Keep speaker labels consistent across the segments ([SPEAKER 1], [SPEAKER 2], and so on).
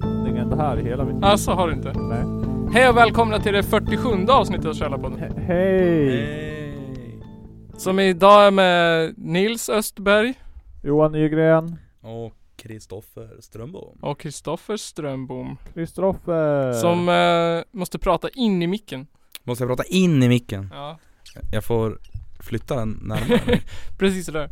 [SPEAKER 1] Det är inte här i hela mitt liv.
[SPEAKER 2] Alltså har du inte?
[SPEAKER 1] Nej.
[SPEAKER 2] Hej och välkomna till det 47 avsnittet av Källarpodden.
[SPEAKER 1] He- Hej!
[SPEAKER 3] Hej!
[SPEAKER 2] Som idag är med Nils Östberg
[SPEAKER 1] Johan Nygren,
[SPEAKER 3] Och Kristoffer Strömbom.
[SPEAKER 2] och Kristoffer Strömbom.
[SPEAKER 1] Kristoffer.
[SPEAKER 2] Som eh, måste prata in i micken.
[SPEAKER 3] Måste jag prata in i micken?
[SPEAKER 2] Ja,
[SPEAKER 3] Jag får flytta den närmare.
[SPEAKER 2] precis sådär.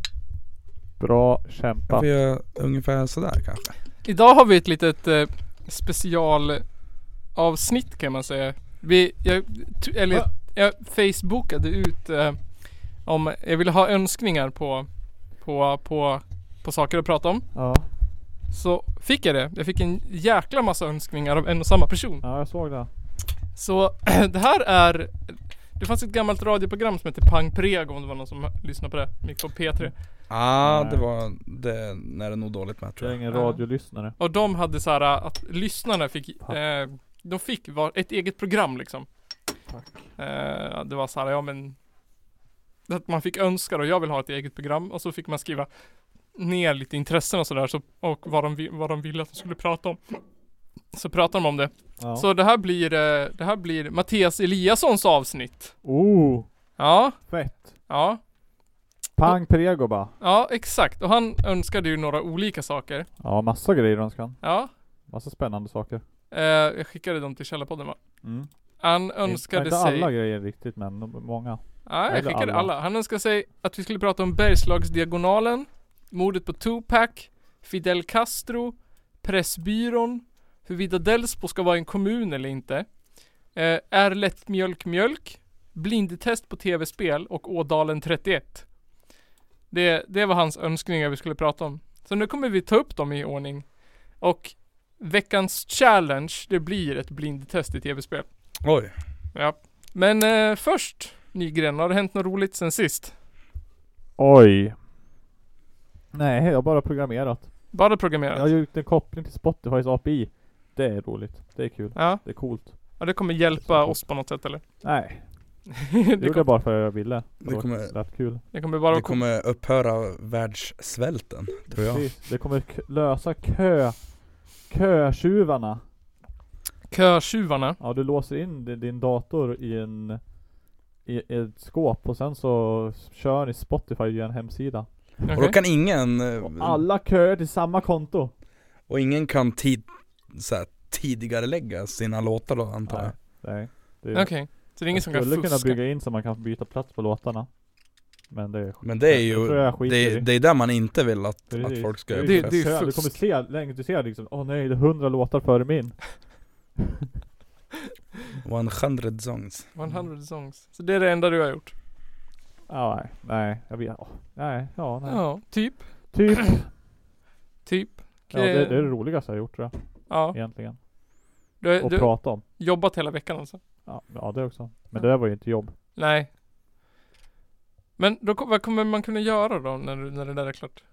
[SPEAKER 1] Bra
[SPEAKER 3] Jag
[SPEAKER 1] kämpat.
[SPEAKER 3] får göra ungefär sådär kanske.
[SPEAKER 2] Idag har vi ett litet eh, specialavsnitt kan man säga. Vi, jag, t- eller jag facebookade ut eh, om, jag ville ha önskningar på, på, på, på saker att prata om.
[SPEAKER 1] Ja.
[SPEAKER 2] Så fick jag det. Jag fick en jäkla massa önskningar av en och samma person.
[SPEAKER 1] ja, jag såg det.
[SPEAKER 2] Så det här är Det fanns ett gammalt radioprogram som hette Pang Prego om det var någon som lyssnade på det. Mycket på P3.
[SPEAKER 3] Ah,
[SPEAKER 1] Nej.
[SPEAKER 3] det var det när det nog dåligt med tror
[SPEAKER 1] Jag är
[SPEAKER 3] jag.
[SPEAKER 1] ingen
[SPEAKER 2] Ja.
[SPEAKER 1] radiolyssnare.
[SPEAKER 2] Och de hade så här äh, att lyssnarna fick eh, De fick var ett eget program liksom. Eh, det var så här, ja men Att man fick önska och jag vill ha ett eget program och så fick man skriva Ner lite intressen och sådär så, och vad de, vi- vad de ville att de skulle prata om. Så pratar de om det.
[SPEAKER 1] Ja.
[SPEAKER 2] Så det här blir eh, Det här blir Mattias Eliassons avsnitt.
[SPEAKER 1] Oh,
[SPEAKER 2] Ja,
[SPEAKER 1] fett.
[SPEAKER 2] ja.
[SPEAKER 1] Pang Prego bara.
[SPEAKER 2] Ja, exakt. Och han önskade ju några olika saker.
[SPEAKER 1] Ja, massa grejer önskan.
[SPEAKER 2] Ja.
[SPEAKER 1] Massa spännande saker.
[SPEAKER 2] Eh, jag skickade dem till Källarpodden va?
[SPEAKER 1] Mm.
[SPEAKER 2] Han
[SPEAKER 1] Inte
[SPEAKER 2] önskade
[SPEAKER 1] inte
[SPEAKER 2] sig...
[SPEAKER 1] alla grejer riktigt men de- många.
[SPEAKER 2] Nej, jag
[SPEAKER 1] Eller
[SPEAKER 2] skickade alla.
[SPEAKER 1] alla.
[SPEAKER 2] Han önskade sig att vi skulle prata om Bergslagsdiagonalen, mordet på Tupac, Fidel Castro, Pressbyrån, huruvida Delsbo ska vara en kommun eller inte, eh, är lättmjölk mjölk, blindtest på tv-spel och Ådalen 31. Det, det var hans önskningar vi skulle prata om. Så nu kommer vi ta upp dem i ordning. Och veckans challenge, det blir ett blindtest i tv-spel.
[SPEAKER 3] Oj.
[SPEAKER 2] Ja. Men eh, först Nygren, har det hänt något roligt sen sist?
[SPEAKER 1] Oj. Nej, jag har bara programmerat.
[SPEAKER 2] Bara
[SPEAKER 1] Jag
[SPEAKER 2] programmerat?
[SPEAKER 1] har
[SPEAKER 2] Ja,
[SPEAKER 1] gjort en koppling till Spotifys API. Det är roligt. Det är kul.
[SPEAKER 2] ja.
[SPEAKER 1] Det är coolt.
[SPEAKER 2] det kommer hjälpa oss på något sätt eller?
[SPEAKER 1] Nej, det
[SPEAKER 2] det,
[SPEAKER 1] gjorde jag
[SPEAKER 2] kom,
[SPEAKER 1] bara för att jag ville.
[SPEAKER 3] Det kommer,
[SPEAKER 1] lät kul.
[SPEAKER 2] det kommer bara
[SPEAKER 3] det
[SPEAKER 2] att kom,
[SPEAKER 3] kommer upphöra världssvälten tror jag.
[SPEAKER 1] Precis. Det kommer k- lösa kö... Kötjuvarna.
[SPEAKER 2] kötjuvarna.
[SPEAKER 1] Ja, du låser in di- din dator i en... I ett skåp och sen så kör ni Spotify via en hemsida.
[SPEAKER 3] Och då
[SPEAKER 2] Okej.
[SPEAKER 3] kan ingen, eh,
[SPEAKER 1] Och alla köer till samma konto.
[SPEAKER 3] och ingen kan tid, så här, tidigare lägga sina låtar då antar jag.
[SPEAKER 1] Nej. Det
[SPEAKER 2] Okej. Så det är ingen
[SPEAKER 1] jag
[SPEAKER 2] som kan
[SPEAKER 1] skulle kunna
[SPEAKER 2] fuska?
[SPEAKER 1] bygga in så man kan byta plats på låtarna. Men det är skit.
[SPEAKER 3] Men det är ju,
[SPEAKER 1] tror jag skiter
[SPEAKER 3] det,
[SPEAKER 1] i.
[SPEAKER 3] det är där man inte vill att,
[SPEAKER 1] Precis.
[SPEAKER 3] att folk ska
[SPEAKER 1] Det
[SPEAKER 3] göra
[SPEAKER 1] är
[SPEAKER 2] Det-
[SPEAKER 1] ju
[SPEAKER 3] fest.
[SPEAKER 2] det är
[SPEAKER 1] kö. Du
[SPEAKER 2] fusk.
[SPEAKER 1] kommer se, länge du ser liksom, åh nej det är hundra låtar före min.
[SPEAKER 3] 100 songs
[SPEAKER 2] 100 songs. Så det är det enda du har gjort?
[SPEAKER 1] Ja, nej, nej, jag vet, åh, nej, ja, nej.
[SPEAKER 2] Ja, typ.
[SPEAKER 1] Typ.
[SPEAKER 2] Typ.
[SPEAKER 1] Ja, det, det är det roligaste jag har gjort tror jag,
[SPEAKER 2] Ja. Eh,
[SPEAKER 1] egentligen.
[SPEAKER 2] Du
[SPEAKER 1] Och
[SPEAKER 2] har
[SPEAKER 1] prata om.
[SPEAKER 2] jobbat hela veckan alltså?
[SPEAKER 1] Ja, ja, det också. Men det där var ju inte jobb.
[SPEAKER 2] Nej. Men då, kom- vad kommer man kunna göra då när, du- när det där är klart?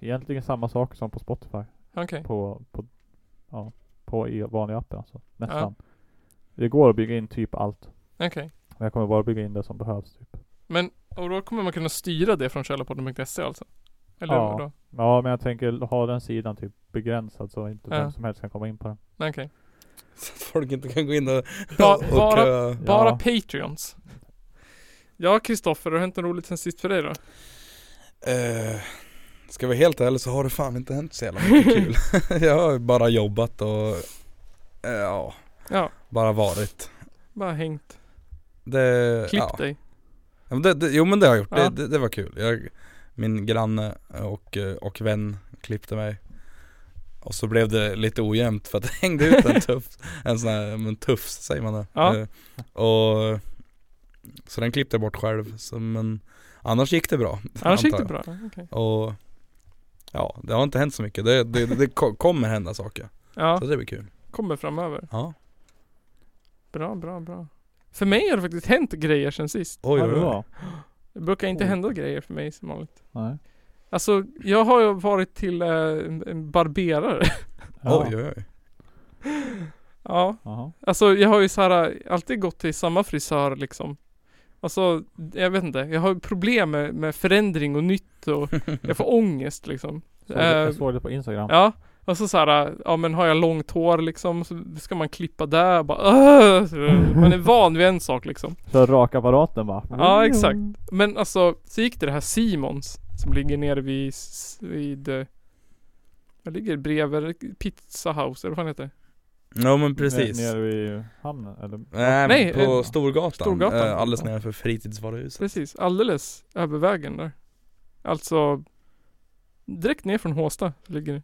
[SPEAKER 1] Egentligen samma sak som på Spotify.
[SPEAKER 2] Okej.
[SPEAKER 1] På, på, ja, på i vanliga appen alltså. Nästan. Det går att bygga in typ allt.
[SPEAKER 2] Okej.
[SPEAKER 1] Men jag kommer bara bygga in det som behövs typ.
[SPEAKER 2] Men, och då kommer man kunna styra det från källarpodden.se alltså? Eller
[SPEAKER 1] Ja.
[SPEAKER 2] då?
[SPEAKER 1] Ja, men jag tänker ha den sidan typ begränsad så inte
[SPEAKER 2] Ja.
[SPEAKER 1] vem som helst kan komma in på den.
[SPEAKER 2] Okej.
[SPEAKER 3] Så att folk inte kan gå in och,
[SPEAKER 2] Ba-
[SPEAKER 3] och
[SPEAKER 2] bara-
[SPEAKER 3] köa.
[SPEAKER 2] Bara
[SPEAKER 1] Ja.
[SPEAKER 2] Patreons. Ja, Kristoffer, har det hänt något roligt sen sist för dig då?
[SPEAKER 3] Eh, ska jag vara helt ärlig så har det fan inte hänt så jävla mycket kul. jag har ju bara jobbat och eh, ja,
[SPEAKER 2] Ja,
[SPEAKER 3] bara varit.
[SPEAKER 2] bara hängt.
[SPEAKER 3] Det,
[SPEAKER 2] Klippt
[SPEAKER 3] Eh, ja.
[SPEAKER 2] dig.
[SPEAKER 3] Ja, men det, det, jo men det har jag gjort,
[SPEAKER 2] Ja.
[SPEAKER 3] det, det, det var kul. Jag, min granne och, eh, och vän klippte mig. Och så blev det lite ojämnt för att jag hängde ut en tuff, en sån här, men tuff säger man det?
[SPEAKER 2] Ja.
[SPEAKER 3] Eh, Och, så den klippte jag bort själv, så, men annars gick det bra.
[SPEAKER 2] Annars gick
[SPEAKER 3] antar
[SPEAKER 2] det
[SPEAKER 3] jag.
[SPEAKER 2] bra. Okej.
[SPEAKER 3] Och ja, det har inte hänt så mycket. Det, det, det, det ko- kommer hända saker.
[SPEAKER 2] Ja,
[SPEAKER 3] Så det blir kul.
[SPEAKER 2] kommer framöver.
[SPEAKER 3] Ja.
[SPEAKER 2] Bra, bra, bra. För mig har det faktiskt hänt grejer sen sist.
[SPEAKER 3] Oj,
[SPEAKER 1] Ja,
[SPEAKER 3] oj,
[SPEAKER 1] det
[SPEAKER 3] oj.
[SPEAKER 1] var.
[SPEAKER 2] Det brukar inte
[SPEAKER 1] Oj.
[SPEAKER 2] hända grejer för mig som vanligt.
[SPEAKER 1] Nej.
[SPEAKER 2] Alltså, jag har ju varit till eh, en- en barberare.
[SPEAKER 1] Ja.
[SPEAKER 3] Oj, oj, oj.
[SPEAKER 2] ja.
[SPEAKER 1] Jaha.
[SPEAKER 2] eh, Alltså jag har ju så här alltid gått till samma frisör liksom. Alltså, jag vet inte. Jag har problem med, med förändring och nytt och jag får ångest liksom.
[SPEAKER 1] Så det-
[SPEAKER 2] Eh,
[SPEAKER 1] jag såg det på Instagram.
[SPEAKER 2] Ja, och så såhär, ja men har jag långt hår liksom, så ska man klippa där bara "Åh!" Så Man är van vid en sak liksom.
[SPEAKER 1] Så rakapparaten bara.
[SPEAKER 2] Ja, exakt. Men alltså, så gick det det här Simons som ligger nere vid, s- vid eh, vad ligger det? bredvid Pizza House, eller vad fan heter det?
[SPEAKER 3] Ja men precis.
[SPEAKER 1] Nere vid hamnen eller?
[SPEAKER 3] Nej,
[SPEAKER 2] Nej,
[SPEAKER 3] men på
[SPEAKER 2] eh,
[SPEAKER 3] Storgatan.
[SPEAKER 2] Storgatan.
[SPEAKER 3] Eh, alldeles
[SPEAKER 2] Ja.
[SPEAKER 3] nedanför fritidsvaruhuset.
[SPEAKER 2] Precis, alldeles över vägen där. Alltså, direkt ner från Håsta ligger det.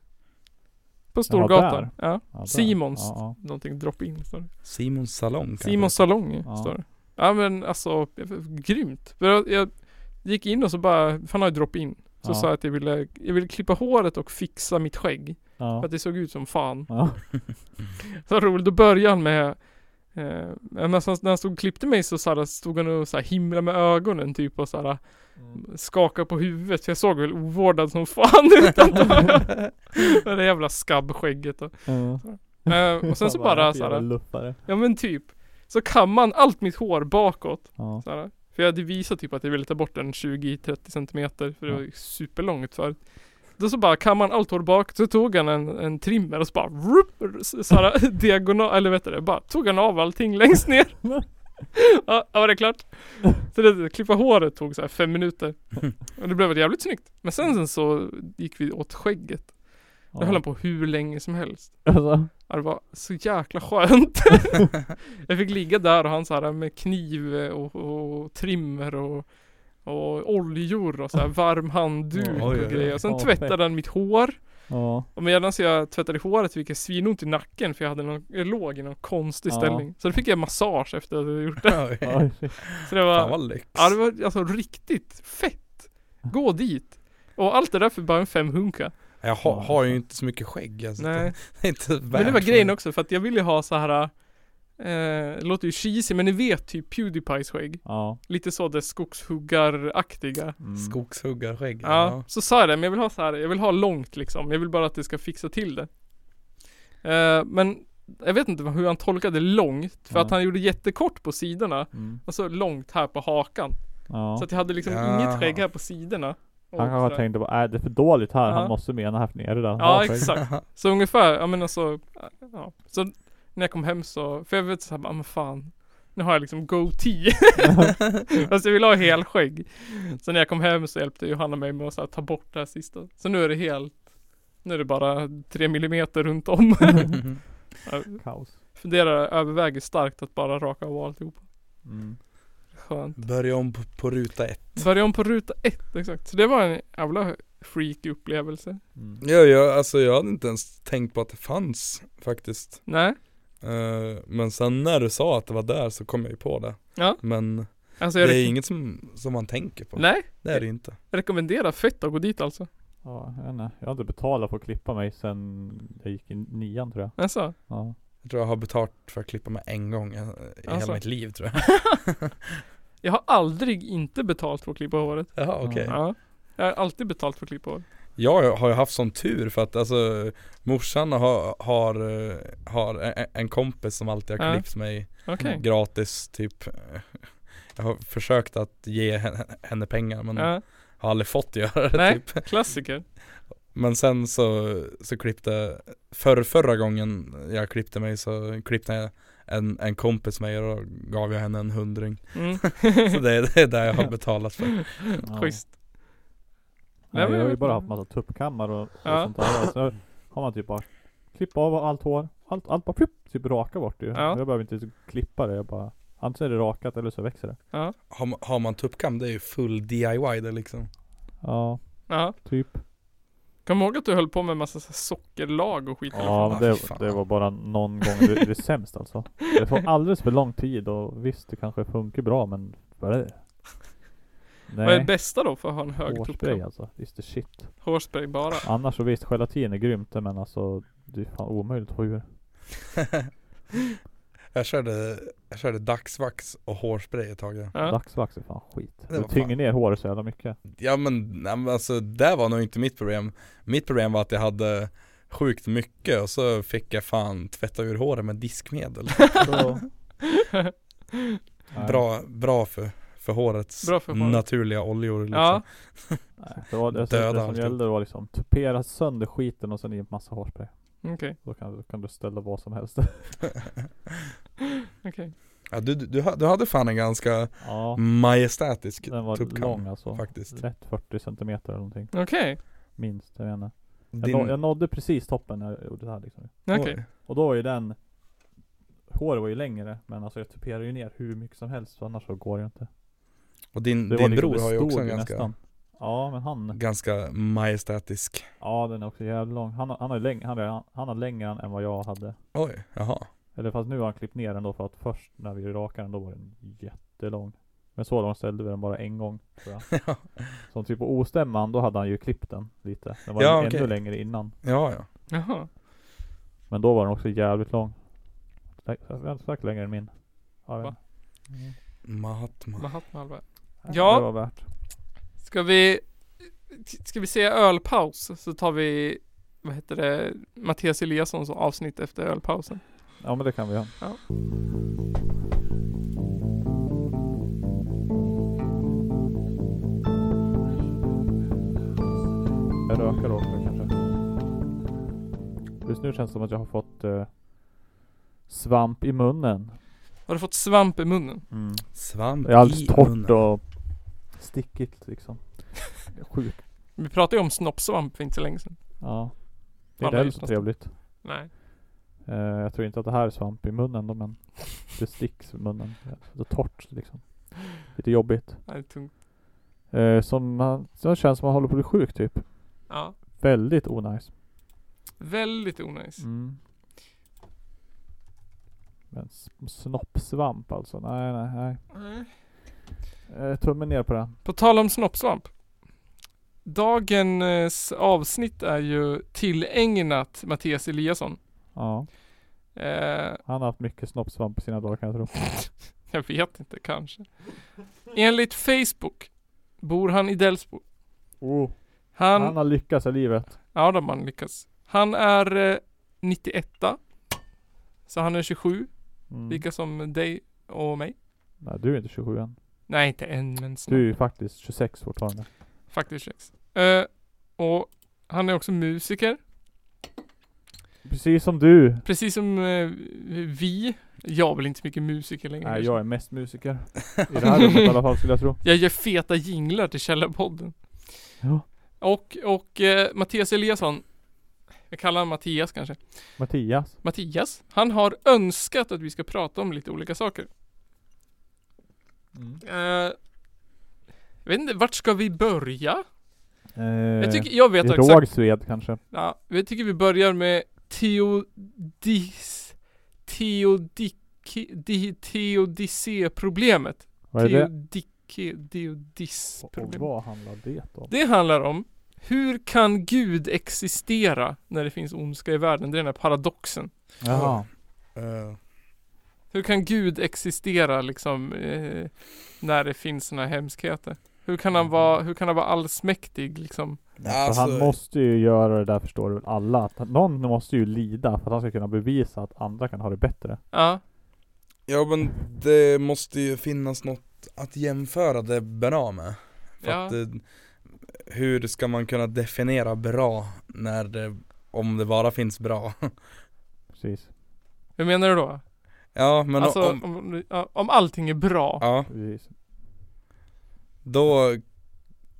[SPEAKER 2] På Storgatan.
[SPEAKER 1] där.
[SPEAKER 2] Ja,
[SPEAKER 1] Ja, där.
[SPEAKER 2] Simons.
[SPEAKER 1] Ja,
[SPEAKER 2] någonting drop-in står det.
[SPEAKER 3] Simons salong kanske.
[SPEAKER 2] Simons salong
[SPEAKER 1] Ja.
[SPEAKER 2] står det. Ja men alltså, jag- grymt. För jag, jag gick in och så bara, för han har ju drop-in. Så
[SPEAKER 1] Ja.
[SPEAKER 2] sa jag att jag ville, jag ville klippa håret och fixa mitt skägg. För
[SPEAKER 1] ja.
[SPEAKER 2] att det såg ut som fan.
[SPEAKER 1] ja.
[SPEAKER 2] Så roligt, då började han med Eh, men när han- när han stod och klippte mig så, så här, stod han och så här, himlade med ögonen typ och så här, skakade på huvudet. För jag såg väl ovårdad som fan ut antar jag. Med det jävla skabbskägget. Och,
[SPEAKER 1] Ja.
[SPEAKER 2] eh, och sen så
[SPEAKER 1] Fan,
[SPEAKER 2] bara
[SPEAKER 1] vad
[SPEAKER 2] så
[SPEAKER 1] jävla
[SPEAKER 2] här,
[SPEAKER 1] luffare.
[SPEAKER 2] ja men typ. Så kammade han allt mitt hår bakåt.
[SPEAKER 1] Ja.
[SPEAKER 2] Så här, för jag hade visat typ att jag ville ta bort den 20-30 centimeter för det var ju superlångt förut. Då så bara kammade han allt hår bak, så tog han en, en trimmer och så bara rup, så här, diagonal, eller vet du det, bara tog han av allting längst ner. ja, ja, var det klart? Så det, klippa håret tog så här fem minuter. Och det blev ett jävligt snyggt. Men sen så gick vi åt skägget. Det höll han på hur länge som helst.
[SPEAKER 1] Alltså,
[SPEAKER 2] Ja, det var så jäkla skönt. jag fick ligga där och han så här med kniv och, och trimmer och, och oljor och så här varm handduk
[SPEAKER 1] Oj,
[SPEAKER 2] och
[SPEAKER 3] oj, oj.
[SPEAKER 2] grejer. Och sen
[SPEAKER 1] Ja,
[SPEAKER 2] tvättade han mitt hår.
[SPEAKER 1] ja.
[SPEAKER 2] Och medan jag tvättade håret fick jag svinont i nacken för jag, hade någon, jag låg i någon konstig
[SPEAKER 1] Ja.
[SPEAKER 2] ställning. Så då fick jag massage efter att jag gjort det.
[SPEAKER 3] Oj,
[SPEAKER 1] Oj, shit.
[SPEAKER 2] Så det var,
[SPEAKER 3] Fan vad lyx.
[SPEAKER 2] ja, det var alltså riktigt fett. Gå dit. Och allt det där för bara en femhunka.
[SPEAKER 3] Jag har, har ju inte så mycket skägg alltså.
[SPEAKER 2] Nej.
[SPEAKER 3] Det är inte
[SPEAKER 2] Men det var
[SPEAKER 3] värt
[SPEAKER 2] grejen också för att jag ville ju ha så här eh, det låter ju cheesy men ni vet typ Pewdiepies skägg.
[SPEAKER 1] Ja.
[SPEAKER 2] Lite så det skogshuggaraktiga.
[SPEAKER 1] Mm.
[SPEAKER 3] Skogshuggarskägg.
[SPEAKER 2] Ja. Så sa jag det, men jag vill ha så här, jag vill ha långt liksom. Jag vill bara att det ska fixa till det. Eh, men jag vet inte hur han tolkade långt. För
[SPEAKER 1] Ja.
[SPEAKER 2] att han gjorde jättekort på sidorna.
[SPEAKER 1] Mm.
[SPEAKER 2] Och så långt här på hakan.
[SPEAKER 1] Ja.
[SPEAKER 2] Så att jag hade liksom
[SPEAKER 3] Ja.
[SPEAKER 2] inget skägg här på sidorna. Och
[SPEAKER 1] Han
[SPEAKER 2] sådär.
[SPEAKER 1] kanske tänkte bara, är det är för dåligt här?
[SPEAKER 2] Ja.
[SPEAKER 1] Han måste mena här nere där.
[SPEAKER 2] Ja,
[SPEAKER 1] skägg.
[SPEAKER 2] exakt. Så ungefär, ja men alltså, ja. Så när jag kom hem så, för jag vet såhär, ja men fan. Nu har jag liksom goatee. Fast jag vill ha helskägg. Så när jag kom hem så hjälpte Johanna mig med att så här, ta bort det här sista. Så nu är det helt, nu är det bara tre millimeter runt om. jag
[SPEAKER 1] Kaos.
[SPEAKER 2] funderar, överväger starkt att bara raka av alltihop.
[SPEAKER 1] Mm.
[SPEAKER 2] Skönt.
[SPEAKER 3] Börja om på, på ruta ett.
[SPEAKER 2] Börja om på ruta ett, exakt. Så det var en jävla freaky upplevelse.
[SPEAKER 1] Mm.
[SPEAKER 3] Ja, jag, alltså jag hade inte ens tänkt på att det fanns faktiskt.
[SPEAKER 2] Nej,
[SPEAKER 3] Eh, men sen när du sa att det var där så kom jag ju på det.
[SPEAKER 2] Ja.
[SPEAKER 3] Men
[SPEAKER 2] alltså
[SPEAKER 3] det
[SPEAKER 2] jag
[SPEAKER 3] är
[SPEAKER 2] rek-
[SPEAKER 3] inget som, som man tänker på.
[SPEAKER 2] Nej,
[SPEAKER 3] Det är det ju inte.
[SPEAKER 2] jag rekommenderar fett att gå dit alltså.
[SPEAKER 1] Ja, jag, vet inte. jag har inte betalat för att klippa mig sen jag gick i nian tror jag.
[SPEAKER 2] Alltså.
[SPEAKER 1] Ja.
[SPEAKER 3] Jag tror jag har betalt för att klippa mig en gång eh, i
[SPEAKER 2] Alltså.
[SPEAKER 3] hela mitt liv tror jag.
[SPEAKER 2] Jag har aldrig inte betalt för att klippa håret.
[SPEAKER 3] Jaha okej.
[SPEAKER 1] Ja.
[SPEAKER 2] Ja. Jag har alltid betalt för att klippa håret.
[SPEAKER 3] Jag har ju haft sån tur för att alltså morsan har, har, eh, har en- en kompis som alltid har
[SPEAKER 2] Ja.
[SPEAKER 3] klippt mig
[SPEAKER 2] Okej.
[SPEAKER 3] gratis typ Jag har försökt att ge henne, henne pengar men
[SPEAKER 2] Ja.
[SPEAKER 3] har aldrig fått göra det
[SPEAKER 2] Nej.
[SPEAKER 3] typ
[SPEAKER 2] Klassiker.
[SPEAKER 3] Men sen så, så klippte, för, förra gången jag klippte mig så klippte jag en, en kompis mig och då gav jag henne en hundring
[SPEAKER 2] Mm.
[SPEAKER 3] Så det, är- det är där jag har betalat för
[SPEAKER 1] Ja.
[SPEAKER 2] Schysst. Nej,
[SPEAKER 1] Nej,
[SPEAKER 2] men
[SPEAKER 1] jag
[SPEAKER 2] jag
[SPEAKER 1] har ju
[SPEAKER 2] vet
[SPEAKER 1] bara
[SPEAKER 2] inte.
[SPEAKER 1] haft massa tuppkammar och, och
[SPEAKER 2] Ja.
[SPEAKER 1] sånt där. Så har man typ bara klippa av allt hår. Allt, allt bara plupp, typ raka bort ju.
[SPEAKER 2] Ja.
[SPEAKER 1] Jag behöver inte ens klippa det. Jag bara, antingen är det rakat eller så växer det.
[SPEAKER 3] Har, man- har man tuppkam det är ju full DIY det liksom
[SPEAKER 1] Ja,
[SPEAKER 2] Ja.
[SPEAKER 1] typ.
[SPEAKER 2] Kom ihåg att du höll på med en massa så här sockerlag och skit.
[SPEAKER 3] Ja,
[SPEAKER 1] Ja, men det,
[SPEAKER 3] fy fan.
[SPEAKER 1] det var bara någon gång det, det är sämst alltså. Det tar alldeles för lång tid och visst det kanske funkar bra men vad är det?
[SPEAKER 2] Vad är det
[SPEAKER 1] Nej,
[SPEAKER 2] bästa då för att ha en hög
[SPEAKER 1] hårspray
[SPEAKER 2] tuppkam?
[SPEAKER 1] alltså. Visst är shit.
[SPEAKER 2] Hårspray bara.
[SPEAKER 1] Annars så visst, gelatin är grymt det, men alltså det är fan omöjligt att få ur.
[SPEAKER 3] jag, körde, jag körde dagsvax och hårspray ett tag ja.
[SPEAKER 2] Ja.
[SPEAKER 1] Dagsvax är fan skit.
[SPEAKER 3] Det
[SPEAKER 1] Det
[SPEAKER 3] var
[SPEAKER 1] tynger
[SPEAKER 3] fan-
[SPEAKER 1] ner håret så jävla mycket.
[SPEAKER 3] Ja men, nej, men alltså det var nog inte mitt problem Mitt problem var att jag hade sjukt mycket och så fick jag fan tvätta ur håret med diskmedel
[SPEAKER 1] Så... Nej.
[SPEAKER 3] Bra, bra för, för hårets
[SPEAKER 2] Bra för håret.
[SPEAKER 3] naturliga oljor liksom.
[SPEAKER 2] Ja,
[SPEAKER 1] Nej, det var det,
[SPEAKER 3] Döda
[SPEAKER 1] det som
[SPEAKER 3] alltid.
[SPEAKER 1] gällde var liksom tupera sönder skiten och sen i massa hårspray.
[SPEAKER 2] okej,
[SPEAKER 1] Då kan, då kan du ställa vad som helst.
[SPEAKER 2] okej.
[SPEAKER 3] Ja, du, du, du ha- du hade fan en ganska
[SPEAKER 1] ja,
[SPEAKER 3] majestätisk
[SPEAKER 1] den var
[SPEAKER 3] tuppkam,
[SPEAKER 1] lång alltså.
[SPEAKER 3] faktiskt.
[SPEAKER 1] Lätt 40 cm eller någonting.
[SPEAKER 2] Okej,
[SPEAKER 1] Minst, jag vet inte. Jag, nå- jag
[SPEAKER 3] Din,
[SPEAKER 1] nådde precis toppen när jag gjorde det här liksom.
[SPEAKER 2] okej.
[SPEAKER 3] Oj.
[SPEAKER 1] Och då var ju den Håret var ju längre men alltså jag tuperade ju ner hur mycket som helst för annars så går det ju inte.
[SPEAKER 3] Och din,
[SPEAKER 1] Det
[SPEAKER 3] din
[SPEAKER 1] liksom-
[SPEAKER 3] bror
[SPEAKER 1] det
[SPEAKER 3] har ju också
[SPEAKER 1] stod
[SPEAKER 3] en ganska,
[SPEAKER 1] nästan. Ja men han,
[SPEAKER 3] ganska majestätisk
[SPEAKER 1] ja den är också jävligt lång. Han, har- han, har ju läng, han, har- han har längre än vad jag hade.
[SPEAKER 3] Oj, jaha
[SPEAKER 1] Eller fast nu har han klippt ner den då för att först när vi rakade den då var den jättelång. Men så lång ställde vi den bara en gång tror jag.
[SPEAKER 3] Ja,
[SPEAKER 1] Som typ på ostämman då hade han ju klippt den lite. Den var
[SPEAKER 3] Ja,
[SPEAKER 1] ju
[SPEAKER 3] okej.
[SPEAKER 1] ännu längre innan.
[SPEAKER 3] ja
[SPEAKER 2] Jaha.
[SPEAKER 1] Men då var den också jävligt lång. Säk- Säkert längre än min. Ja, jag vet
[SPEAKER 2] Va?
[SPEAKER 1] inte.
[SPEAKER 3] Mahatma
[SPEAKER 2] Mahatma Alva. Ja.
[SPEAKER 1] ja. Det var värt.
[SPEAKER 2] Ska vi, ska vi se ölpaus så tar vi, vad heter det, Mattias Eliassons avsnitt efter ölpausen.
[SPEAKER 1] Ja men det kan vi göra.
[SPEAKER 2] Ja.
[SPEAKER 1] Jag röker också kanske. Just nu känns det som att jag har fått eh, svamp i munnen.
[SPEAKER 2] Har du fått svamp i munnen?
[SPEAKER 3] Svamp
[SPEAKER 1] Det är alldeles
[SPEAKER 3] Mm. i
[SPEAKER 1] torrt
[SPEAKER 3] munnen.
[SPEAKER 1] och stickigt liksom. Det är Sjukt.
[SPEAKER 2] Vi pratade ju om snoppsvamp för inte så länge sedan.
[SPEAKER 1] Ja. Det är
[SPEAKER 2] Alla
[SPEAKER 1] inte heller
[SPEAKER 2] just
[SPEAKER 1] så
[SPEAKER 2] nästan.
[SPEAKER 1] trevligt.
[SPEAKER 2] Nej.
[SPEAKER 1] Eh, jag tror inte att det här är svamp i munnen då men det sticks i munnen. Det är torrt liksom. Lite jobbigt.
[SPEAKER 2] Det är tungt.
[SPEAKER 1] Eh, som man, så känns som man håller på att bli sjuk typ.
[SPEAKER 2] Ja.
[SPEAKER 1] Väldigt onajs.
[SPEAKER 2] Väldigt onajs.
[SPEAKER 1] Mm. Men s- snoppsvamp alltså. Nej, nej, nej.
[SPEAKER 2] Nej.
[SPEAKER 1] Eh, tummen ner på det.
[SPEAKER 2] På tal om snoppsvamp. Dagens eh, avsnitt är ju tillägnat Mattias Eliasson.
[SPEAKER 1] Ja.
[SPEAKER 2] Eh,
[SPEAKER 1] Han har haft mycket snoppsvamp på sina dagar kan jag tro.
[SPEAKER 2] jag vet inte, kanske. Enligt Facebook bor han i Delsbo.
[SPEAKER 1] Oh.
[SPEAKER 2] Han,
[SPEAKER 1] Han, har lyckats i livet.
[SPEAKER 2] ja då har man lyckas. Han är eh, 91 Så han är 27,
[SPEAKER 1] Mm.
[SPEAKER 2] lika som dig och mig.
[SPEAKER 1] Nej, du är inte 27 än.
[SPEAKER 2] Nej, inte än, men snart.
[SPEAKER 1] Du är ju faktiskt 26 fortfarande.
[SPEAKER 2] Faktiskt sex. Eh, och han är också musiker.
[SPEAKER 1] Precis som du.
[SPEAKER 2] Precis som eh, vi. Jag är väl inte så mycket musiker längre.
[SPEAKER 1] Nej, jag är mest musiker. I det här rummet i alla fall skulle jag tro.
[SPEAKER 2] Jag gör feta jinglar till Källarpodden.
[SPEAKER 1] Ja.
[SPEAKER 2] Och, och eh, Mattias Eliasson. Jag kallar honom Mattias kanske.
[SPEAKER 1] Mattias.
[SPEAKER 2] Mattias. Han har önskat att vi ska prata om lite olika saker.
[SPEAKER 3] Mm.
[SPEAKER 2] Eh, jag vet inte, vart ska vi börja?
[SPEAKER 1] Eh,
[SPEAKER 2] Jag tycker, jag vet
[SPEAKER 1] I
[SPEAKER 2] exakt.
[SPEAKER 1] Rågsved kanske.
[SPEAKER 2] Ja, jag tycker vi börjar med Theodis... Theodik... Di, Theodicé-problemet.
[SPEAKER 1] Vad är det?
[SPEAKER 2] Theodike...
[SPEAKER 1] Och, och
[SPEAKER 2] Theodis-problemet.
[SPEAKER 1] vad handlar det om?
[SPEAKER 2] Det handlar om hur kan Gud existera när det finns ondska i världen? Det är den här paradoxen.
[SPEAKER 1] Jaha.
[SPEAKER 3] Eh,
[SPEAKER 2] Hur kan Gud existera liksom eh, när det finns såna här hemskheter? Hur kan
[SPEAKER 1] Mm.
[SPEAKER 2] han vara, hur kan han vara allsmäktig liksom?
[SPEAKER 1] Alltså, han måste ju göra det där förstår väl alla. Att han- någon måste ju lida för att han ska kunna bevisa att andra kan ha det bättre.
[SPEAKER 2] Ja,
[SPEAKER 3] Ja men det måste ju finnas något att jämföra det bra med För
[SPEAKER 2] Ja.
[SPEAKER 3] att, eh, hur ska man kunna definiera bra när det, om det bara finns bra?
[SPEAKER 1] Precis.
[SPEAKER 2] hur menar du då?
[SPEAKER 3] Ja men
[SPEAKER 2] alltså
[SPEAKER 3] om,
[SPEAKER 2] om, om, ja, om allting är bra.
[SPEAKER 3] ja,
[SPEAKER 1] Precis.
[SPEAKER 3] då,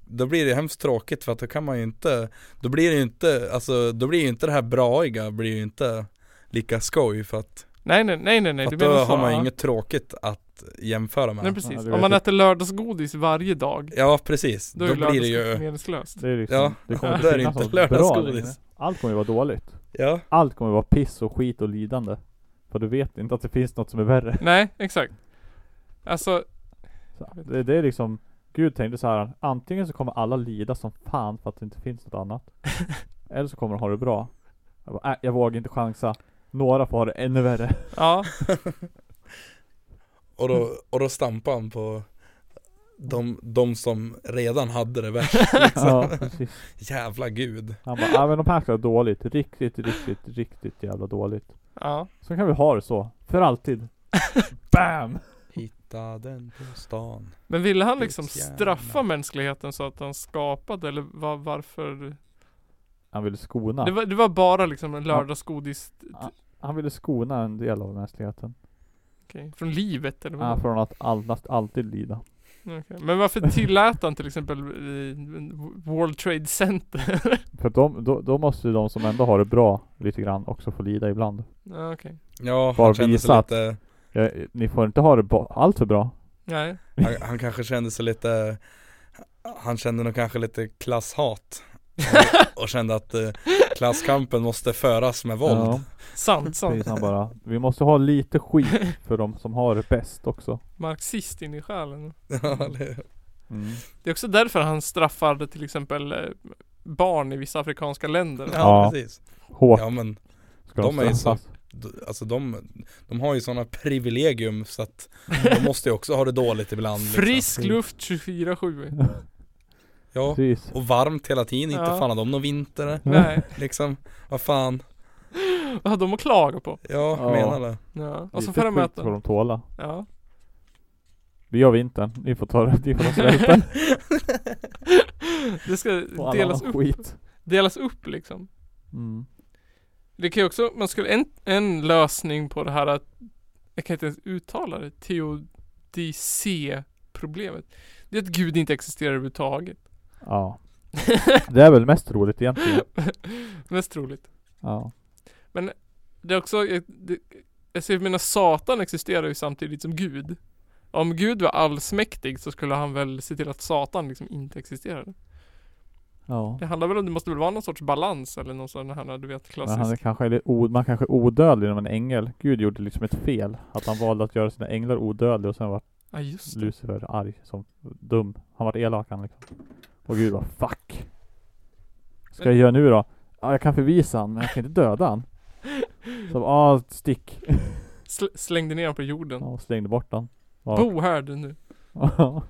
[SPEAKER 3] då blir det hemskt tråkigt för att då kan man ju inte, då blir det ju inte, alltså då blir ju inte det här braiga blir ju inte lika skoj för att,
[SPEAKER 2] Nej nej nej nej, nej.
[SPEAKER 3] för
[SPEAKER 2] du
[SPEAKER 3] att då
[SPEAKER 2] menar så,
[SPEAKER 3] har man ju
[SPEAKER 2] ja.
[SPEAKER 3] inget tråkigt att jämföra med.
[SPEAKER 2] Nej
[SPEAKER 1] Ja,
[SPEAKER 2] precis.
[SPEAKER 1] du
[SPEAKER 2] Om
[SPEAKER 1] vet
[SPEAKER 2] man
[SPEAKER 1] ju.
[SPEAKER 2] äter lördagsgodis varje dag,
[SPEAKER 3] Ja precis,
[SPEAKER 2] då
[SPEAKER 3] då,
[SPEAKER 2] är ju
[SPEAKER 3] blir det ju,
[SPEAKER 2] lördagsgodis meningslöst.
[SPEAKER 1] Det är liksom,
[SPEAKER 3] Ja,
[SPEAKER 1] det kommer
[SPEAKER 3] då
[SPEAKER 1] inte
[SPEAKER 3] är det
[SPEAKER 1] finnas
[SPEAKER 3] inte
[SPEAKER 1] något bra
[SPEAKER 3] lördagsgodis.
[SPEAKER 1] längre. Allt kommer ju vara dåligt.
[SPEAKER 3] ja,
[SPEAKER 1] Allt kommer vara piss och skit och lidande. För du vet inte att det finns något som är värre.
[SPEAKER 2] Nej, exakt. Alltså,
[SPEAKER 1] Så det, det är liksom Gud tänkte så här. Antingen så kommer alla lida som fan för att det inte finns något annat. eller så kommer de ha det bra. Jag, bara, äh, jag vågar inte chansa. Några får ha det ännu värre.
[SPEAKER 2] ja.
[SPEAKER 3] och
[SPEAKER 2] Mm.
[SPEAKER 3] då, och då stampar han på de, de som redan hade det värst liksom.
[SPEAKER 1] ja, precis.
[SPEAKER 3] Jävla gud
[SPEAKER 1] Han bara, ja men de här ska ha dåligt. Riktigt, riktigt, riktigt jävla dåligt.
[SPEAKER 2] ja.
[SPEAKER 1] Så kan vi ha det så. För alltid. Bam!
[SPEAKER 3] Hitta den på stan.
[SPEAKER 2] Men ville han liksom
[SPEAKER 3] Guds jävla.
[SPEAKER 2] straffa mänskligheten så att han skapade eller va- varför?
[SPEAKER 1] Han ville skona.
[SPEAKER 2] Det, var, det var bara liksom en lördagsgodis
[SPEAKER 1] Han ville skona en del av mänskligheten.
[SPEAKER 2] okej, från livet eller vad?
[SPEAKER 1] Ja, från att allt, alltid lida.
[SPEAKER 2] Okej. Men varför tillät han till exempel eh, World Trade Center?
[SPEAKER 1] För att de, då, då måste ju de som ändå har det bra lite grann också få lida ibland.
[SPEAKER 2] ja, okej.
[SPEAKER 3] Ja,
[SPEAKER 1] Bara
[SPEAKER 3] han kände sig
[SPEAKER 1] visat.
[SPEAKER 3] lite,
[SPEAKER 1] Ja, ni får inte ha det ba- allt för bra.
[SPEAKER 2] Nej.
[SPEAKER 3] han, han kanske kände sig lite, han kände nog kanske lite klasshat. Och, och kände att eh, klasskampen måste föras med våld.
[SPEAKER 1] Ja,
[SPEAKER 2] Sant, sant.
[SPEAKER 1] precis, han bara, vi måste ha lite skit för de som har det bäst också.
[SPEAKER 2] Marxist in i själen.
[SPEAKER 3] Ja, eller hur?
[SPEAKER 1] Mm.
[SPEAKER 2] Det är också därför han straffade till exempel eh, barn i vissa afrikanska länder.
[SPEAKER 1] Ja.
[SPEAKER 3] ja precis.
[SPEAKER 1] Hårt
[SPEAKER 3] Ja men
[SPEAKER 1] ska
[SPEAKER 3] de är
[SPEAKER 1] de
[SPEAKER 3] ju
[SPEAKER 1] straffas.
[SPEAKER 3] d- alltså de, de har ju sådana privilegium så att de måste ju också ha det dåligt ibland. liksom.
[SPEAKER 2] Frisk luft 24-7.
[SPEAKER 3] Ja,
[SPEAKER 1] Precis.
[SPEAKER 3] och varmt hela tiden, inte
[SPEAKER 2] Ja.
[SPEAKER 3] fan har de någon vinter
[SPEAKER 2] Nej,
[SPEAKER 3] liksom. Vad fan,
[SPEAKER 2] vad hade de att klaga på?
[SPEAKER 3] ja,
[SPEAKER 1] Ja.
[SPEAKER 3] menar det.
[SPEAKER 2] Ja. Och så
[SPEAKER 1] Lite
[SPEAKER 2] får de
[SPEAKER 1] skit
[SPEAKER 2] äta.
[SPEAKER 1] får de tåla.
[SPEAKER 2] Ja.
[SPEAKER 1] Vi gör vintern, ni får ta det, ni får ta svälten
[SPEAKER 2] Det ska
[SPEAKER 1] och all
[SPEAKER 2] delas
[SPEAKER 1] annan
[SPEAKER 2] upp,
[SPEAKER 1] skit.
[SPEAKER 2] delas upp liksom.
[SPEAKER 1] Mm.
[SPEAKER 2] Det kan ju också, man skulle, en, en lösning på det här att, jag kan inte ens uttala det, teodicé-problemet. Det är att Gud inte existerar överhuvudtaget.
[SPEAKER 1] Ja. Det är väl mest roligt egentligen.
[SPEAKER 2] Mest troligt.
[SPEAKER 1] Ja.
[SPEAKER 2] Det är också, jag, det, jag ser, mina Satan existerar ju samtidigt som Gud. Om Gud var allsmäktig så skulle han väl se till att Satan liksom inte existerade.
[SPEAKER 1] ja.
[SPEAKER 2] Det handlar väl om, det måste väl vara någon sorts balans eller någon sån här, du vet,
[SPEAKER 1] Men han är
[SPEAKER 2] klassisk.
[SPEAKER 1] kanske, eller o, man kanske är odödlig när man är ängel. Gud gjorde liksom ett fel. Att han valde att göra sina änglar odödliga och sen var
[SPEAKER 2] Ja just det.
[SPEAKER 1] Lucifer arg som dum. Han var elak han liksom. Och Gud bara fuck. Ska jag göra nu då? Ja, jag kan förvisa han men jag kan inte döda han. Så ja, stick.
[SPEAKER 2] Sl slängde ner honom på jorden.
[SPEAKER 1] Ja, och slängde bort han. Ja.
[SPEAKER 2] Bo här du nu.
[SPEAKER 1] Ja.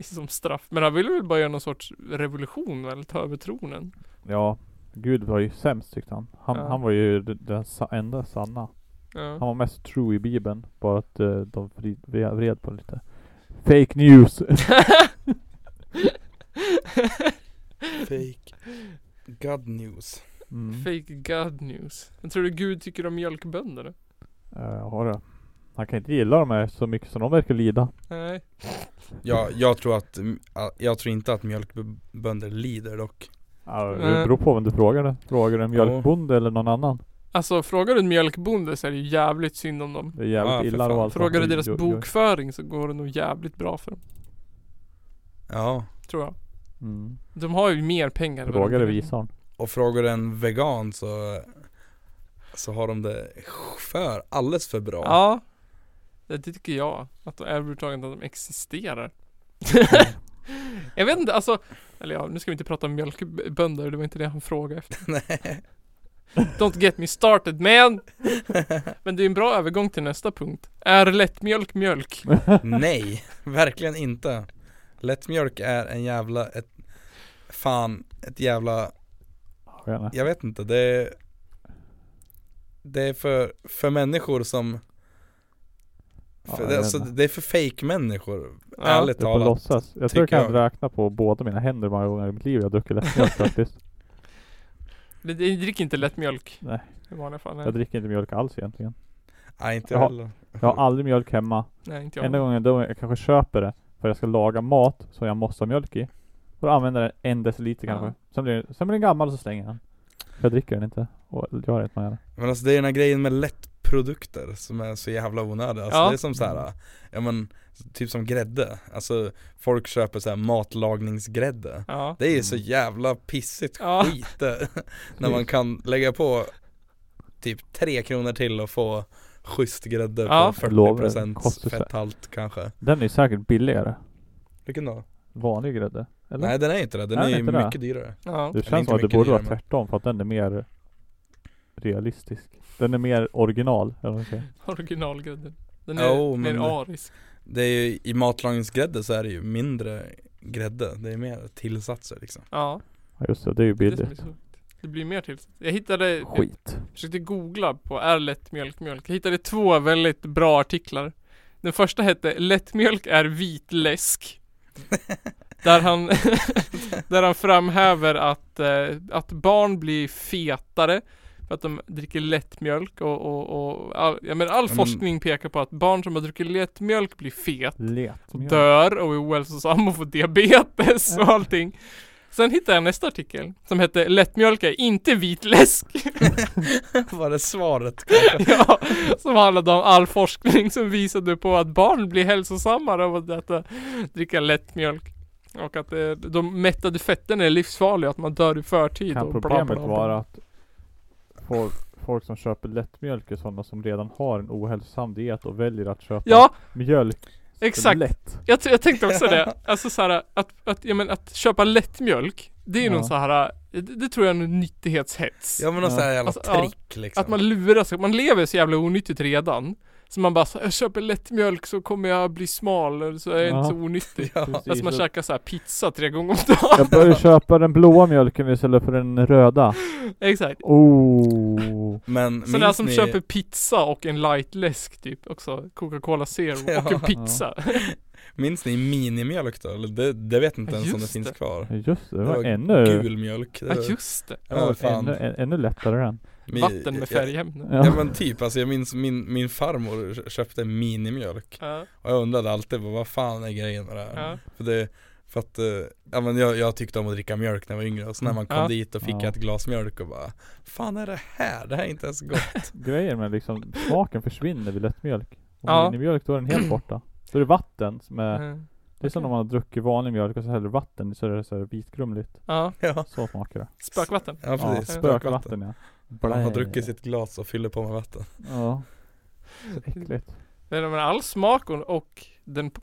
[SPEAKER 2] Som straff. Men han ville väl bara göra någon sorts revolution väl? Ta över tronen.
[SPEAKER 1] Ja, Gud var ju sämst tyckte han. Han,
[SPEAKER 2] Ja.
[SPEAKER 1] han var ju d- den sa- enda sanna.
[SPEAKER 2] Ja.
[SPEAKER 1] Han var mest true i bibeln. Bara att eh, de vrid, vred- vred på det lite. Fake news!
[SPEAKER 3] Fake God news.
[SPEAKER 1] Mm.
[SPEAKER 2] Fake God news. Men tror du Gud tycker om mjölkbönder?
[SPEAKER 1] Eh, ja, det. Han kan inte gilla de här så mycket som de verkar lida.
[SPEAKER 2] Nej.
[SPEAKER 3] Ja, jag tror att, jag tror inte att mjölkbönder lider dock.
[SPEAKER 1] Ja,
[SPEAKER 2] Nej.
[SPEAKER 1] det beror på vem du frågar. det. Frågar du en
[SPEAKER 3] Eh. Ja.
[SPEAKER 1] mjölkbonde eller någon annan?
[SPEAKER 2] Alltså frågar du en mjölkbonde så är det ju jävligt synd om dem.
[SPEAKER 1] Det är jävligt
[SPEAKER 3] Ja, för
[SPEAKER 1] illa
[SPEAKER 3] fan.
[SPEAKER 1] och allt.
[SPEAKER 2] Frågar du
[SPEAKER 1] sånt.
[SPEAKER 2] deras
[SPEAKER 1] Jo, jo.
[SPEAKER 2] bokföring så går det nog jävligt bra för dem.
[SPEAKER 3] Ja,
[SPEAKER 2] Tror jag.
[SPEAKER 1] Mm.
[SPEAKER 2] De har ju mer pengar. än vad
[SPEAKER 1] Frågar
[SPEAKER 2] de
[SPEAKER 1] du
[SPEAKER 2] kan-
[SPEAKER 1] visar hon.
[SPEAKER 3] och frågar du en vegan så, så har de det för, alldeles för bra.
[SPEAKER 2] Ja. Det tycker jag. Att de överhuvudtaget att de existerar. jag vet inte, alltså. Eller ja, nu ska vi inte prata om mjölkbönder. Det var inte det han frågade efter.
[SPEAKER 3] Nej.
[SPEAKER 2] Don't get me started man! Men det är en bra övergång till nästa punkt. Är lättmjölk mjölk?
[SPEAKER 3] Nej, verkligen inte. Lättmjölk är en jävla, ett, fan, ett jävla,
[SPEAKER 1] Jag vet inte.
[SPEAKER 3] jag vet inte, det är, det är för, för människor som,
[SPEAKER 1] Ja,
[SPEAKER 3] för,
[SPEAKER 1] jag
[SPEAKER 3] det,
[SPEAKER 1] vet
[SPEAKER 3] alltså,
[SPEAKER 1] inte.
[SPEAKER 3] det är för fake människor
[SPEAKER 2] Ja.
[SPEAKER 3] ärligt
[SPEAKER 1] Det är på
[SPEAKER 3] talat.
[SPEAKER 1] låtsas. Jag tror jag
[SPEAKER 3] tycker
[SPEAKER 1] kan
[SPEAKER 3] jag.
[SPEAKER 1] räkna på båda mina händer hur många gånger i mitt liv jag har druckit lättmjölk faktiskt.
[SPEAKER 2] Det- det- Drick inte lättmjölk.
[SPEAKER 1] Nej.
[SPEAKER 2] I vanliga fall. Nej,
[SPEAKER 1] Jag dricker inte mjölk alls egentligen.
[SPEAKER 3] Nej, inte
[SPEAKER 1] Jaha.
[SPEAKER 3] jag heller.
[SPEAKER 1] Jag har aldrig mjölk hemma.
[SPEAKER 2] Nej inte
[SPEAKER 1] Enda
[SPEAKER 2] jag.
[SPEAKER 1] gången då jag kanske köper det för jag ska laga mat som jag måste ha mjölk i. Och då använder jag den en deciliter
[SPEAKER 2] Ja.
[SPEAKER 1] kanske. Sen blir, den- sen blir den gammal och så slänger jag den. För jag dricker den inte. Och jag har inte med den.
[SPEAKER 3] Men alltså det är den här grejen med lättprodukter som är så jävla onödiga. Alltså
[SPEAKER 2] Ja.
[SPEAKER 3] det är som så här, ja men typ som grädde. Alltså folk köper så här matlagningsgrädde.
[SPEAKER 2] Ja.
[SPEAKER 3] Det är ju så jävla pissigt
[SPEAKER 2] Ja.
[SPEAKER 3] skit det. när man kan lägga på typ tre kronor till och få schysst grädde
[SPEAKER 2] Ja.
[SPEAKER 3] på
[SPEAKER 1] Jag lovar,
[SPEAKER 3] 40%
[SPEAKER 1] kostar så här.
[SPEAKER 3] fetthalt kanske.
[SPEAKER 1] Den är säkert billigare.
[SPEAKER 3] Vilken då?
[SPEAKER 1] Vanlig grädde. Eller?
[SPEAKER 3] Nej den är inte det, den
[SPEAKER 1] Nej,
[SPEAKER 3] är
[SPEAKER 1] den är
[SPEAKER 3] ju
[SPEAKER 1] inte det.
[SPEAKER 3] mycket dyrare.
[SPEAKER 2] Ja.
[SPEAKER 1] det
[SPEAKER 3] den är
[SPEAKER 1] känns
[SPEAKER 3] inte
[SPEAKER 1] som att det
[SPEAKER 3] mycket
[SPEAKER 1] borde vara
[SPEAKER 3] dyrare, men-
[SPEAKER 1] tvärtom för att den är mer realistisk. Den är mer original. Eller vad man säger.
[SPEAKER 2] Originalgrädden. Den är
[SPEAKER 3] Jo,
[SPEAKER 2] mer
[SPEAKER 3] men-
[SPEAKER 2] arisk.
[SPEAKER 3] Det är ju, i matlagningsgrädde så är det ju mindre grädde, det är mer tillsatser liksom.
[SPEAKER 2] Ja.
[SPEAKER 1] Ja just det, det är ju
[SPEAKER 2] Det, är det, som liksom- är
[SPEAKER 1] billigt.
[SPEAKER 2] så. det blir mer till. Jag hittade,
[SPEAKER 1] Skit.
[SPEAKER 2] jag försökte googla på är lättmjölk mjölk. Jag hittade två väldigt bra artiklar. Den första hette Lättmjölk är vitläsk. där, han där han framhäver att, eh, att barn blir fetare för att de dricker lättmjölk och, och, och all, ja, men all
[SPEAKER 3] men-
[SPEAKER 2] forskning pekar på att barn som har druckit lättmjölk blir fet
[SPEAKER 1] Letmjöl.
[SPEAKER 2] dör och är ohälsosam och får diabetes och
[SPEAKER 1] Ja.
[SPEAKER 2] allting. Sen hittade jag nästa artikel som hette Lättmjölk är inte vitläsk.
[SPEAKER 3] Var det svaret?
[SPEAKER 2] ja, som handlade om all forskning som visade på att barn blir hälsosammare av att äta, dricka lättmjölk. Och att eh, de mättade fetterna är livsfarliga, att man dör i förtid.
[SPEAKER 1] Kan
[SPEAKER 2] och bla,
[SPEAKER 1] problemet
[SPEAKER 2] bla, bla.
[SPEAKER 1] vara att folk, folk som köper lättmjölk är sådana som redan har en ohälsosam diet och väljer att köpa
[SPEAKER 2] Ja,
[SPEAKER 1] mjölk för
[SPEAKER 2] exakt.
[SPEAKER 1] lätt?
[SPEAKER 2] Jag, t- jag tänkte också det. Alltså så här, att, att, ja, men, att köpa lättmjölk, det är
[SPEAKER 1] Ja.
[SPEAKER 2] någon så här, eh, det, det tror jag är en nyttighetshets.
[SPEAKER 3] Ja men någon sån här jävla
[SPEAKER 2] Alltså, ja.
[SPEAKER 3] trick liksom.
[SPEAKER 2] Att man luras, man lever så jävla onyttigt redan. Så man bara, så här, jag köper lättmjölk så kommer jag bli smal, eller så är jag
[SPEAKER 1] Ja.
[SPEAKER 2] inte så onyttig.
[SPEAKER 3] ja.
[SPEAKER 1] Precis.
[SPEAKER 2] Alltså man käkar så här pizza tre gånger om dagen.
[SPEAKER 1] Jag börjar köpa den blåa mjölken istället för den röda.
[SPEAKER 2] Exakt.
[SPEAKER 1] Oh.
[SPEAKER 3] Men
[SPEAKER 2] Så där
[SPEAKER 3] minns
[SPEAKER 2] som
[SPEAKER 3] ni,
[SPEAKER 2] köper pizza och en lightläsk typ också. Coca-Cola Zero och en
[SPEAKER 3] Ja.
[SPEAKER 2] pizza.
[SPEAKER 3] minns ni minimjölk då? Eller det, det vet inte
[SPEAKER 2] Ja,
[SPEAKER 3] ens om det
[SPEAKER 2] just
[SPEAKER 3] finns
[SPEAKER 2] det.
[SPEAKER 3] kvar.
[SPEAKER 1] Just det, det
[SPEAKER 3] Det
[SPEAKER 1] var
[SPEAKER 3] var
[SPEAKER 1] ännu,
[SPEAKER 3] Gul mjölk. Det
[SPEAKER 2] Ja
[SPEAKER 3] var-
[SPEAKER 2] just det.
[SPEAKER 3] ja,
[SPEAKER 1] det var
[SPEAKER 3] fan.
[SPEAKER 1] ännu, än- ännu lättare än.
[SPEAKER 3] Mi-
[SPEAKER 2] Vatten med
[SPEAKER 3] ja,
[SPEAKER 2] färgämnen.
[SPEAKER 1] Ja.
[SPEAKER 3] Ja men typ, alltså jag minns min, min farmor kö- köpte minimjölk
[SPEAKER 2] Ja,
[SPEAKER 3] Och jag undrade alltid vad fan är grejen med det här?
[SPEAKER 2] ja.
[SPEAKER 3] För, det, för att, eh, ja men jag, jag tyckte om att dricka mjölk när jag var yngre och så när man kom
[SPEAKER 2] Ja.
[SPEAKER 3] dit och fick
[SPEAKER 1] Ja.
[SPEAKER 3] jag ett glas mjölk och bara Fan är det här? Det här är inte ens gott
[SPEAKER 1] Grejen med liksom, smaken försvinner vid lättmjölk. Och
[SPEAKER 2] Ja. Mm,
[SPEAKER 1] minimjölk, då är den helt borta. Då är det vatten som är,
[SPEAKER 2] Ja.
[SPEAKER 1] det är som om man har druckit vanlig mjölk och så häller du vatten i så är det så här vitgrumligt.
[SPEAKER 2] ja.
[SPEAKER 3] Ja,
[SPEAKER 1] Så smakar det.
[SPEAKER 2] Spökvatten.
[SPEAKER 3] ja
[SPEAKER 1] Ja,
[SPEAKER 3] precis, spökvatten
[SPEAKER 1] spökvatten ja.
[SPEAKER 3] Man har druckit sitt glas och fyller på med vatten
[SPEAKER 1] Ja. Så äckligt.
[SPEAKER 2] Men all smak och, och den p-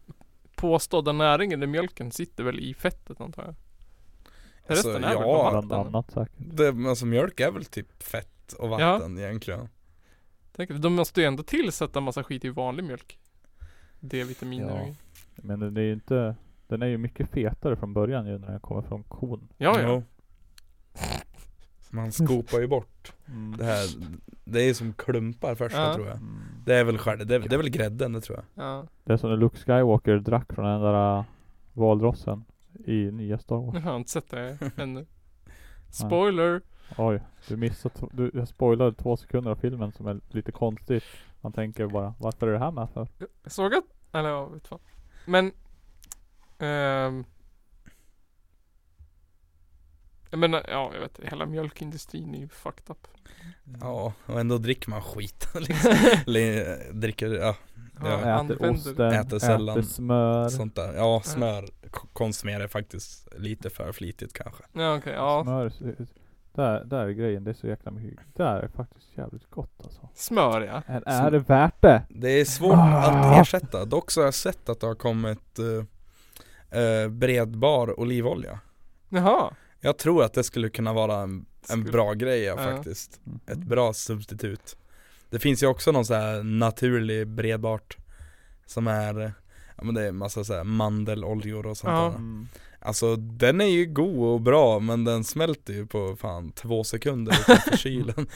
[SPEAKER 2] påstådda näringen i mjölken sitter väl i fettet antar jag?
[SPEAKER 3] Alltså,
[SPEAKER 2] Resten är väl
[SPEAKER 3] ja.
[SPEAKER 2] på
[SPEAKER 1] Bland
[SPEAKER 2] vatten?
[SPEAKER 1] annat säkert.
[SPEAKER 3] det, men Alltså mjölk är väl typ fett och
[SPEAKER 2] Ja.
[SPEAKER 3] vatten egentligen
[SPEAKER 2] Tänk, de måste ju ändå tillsätta massa skit i vanlig mjölk. D-vitaminer
[SPEAKER 1] Ja.
[SPEAKER 2] och grejer.
[SPEAKER 1] Men den är ju inte, den är ju mycket fetare från början ju när den kommer från kon.
[SPEAKER 2] ja, ja.
[SPEAKER 3] Jo. Man skopar ju bort
[SPEAKER 1] Mm.
[SPEAKER 3] det här Det är som klumpar först
[SPEAKER 2] Ja.
[SPEAKER 3] tror jag
[SPEAKER 1] Mm.
[SPEAKER 3] Det är väl skär, det, är, det är väl grädden det tror jag
[SPEAKER 2] ja.
[SPEAKER 1] Det är som när Luke Skywalker drack från den där äh, valrossen i nya Star Wars.
[SPEAKER 2] Jag har inte sett det ännu. Spoiler!
[SPEAKER 1] Oj, du missade, t- du jag spoilade två sekunder av filmen som är lite konstigt. Man tänker bara, varför är det här med för?
[SPEAKER 2] Jag såg att, eller jag vet fan. Men, ehm, jag menar, ja jag vet hela mjölkindustrin är ju fucked up.
[SPEAKER 3] Ja, och ändå dricker man skit liksom. Eller, eh, Dricker, ja, Ja.
[SPEAKER 1] Äter osten,
[SPEAKER 3] Äter
[SPEAKER 1] äter,
[SPEAKER 3] sällan.
[SPEAKER 1] smör.
[SPEAKER 3] sånt där Ja, smör k- konsumerar jag faktiskt lite för flitigt kanske
[SPEAKER 2] Ja okej, ja.
[SPEAKER 1] Smör, eh, där, där är grejen, det är så jäkla mycket. Det här är faktiskt jävligt gott alltså.
[SPEAKER 2] Smör ja.
[SPEAKER 1] Är,
[SPEAKER 3] Som-
[SPEAKER 1] är det värt det?
[SPEAKER 3] Det är svårt
[SPEAKER 1] Ah.
[SPEAKER 3] att ersätta, dock så har jag sett att det har kommit eh, eh, bredbar olivolja
[SPEAKER 2] Jaha.
[SPEAKER 3] Jag tror att det skulle kunna vara en, en
[SPEAKER 2] Skulle-
[SPEAKER 3] bra grej ja,
[SPEAKER 2] Ja. Mm.
[SPEAKER 3] faktiskt
[SPEAKER 1] Mhm.
[SPEAKER 3] Ett bra substitut Det finns ju också någon så här naturlig bredbart Som är, eh, ja men det är massa så här mandeloljor och sånt
[SPEAKER 2] Ja.
[SPEAKER 3] där
[SPEAKER 1] Mm.
[SPEAKER 3] Alltså den är ju god och bra men den smälter ju på fan två sekunder utanför kylen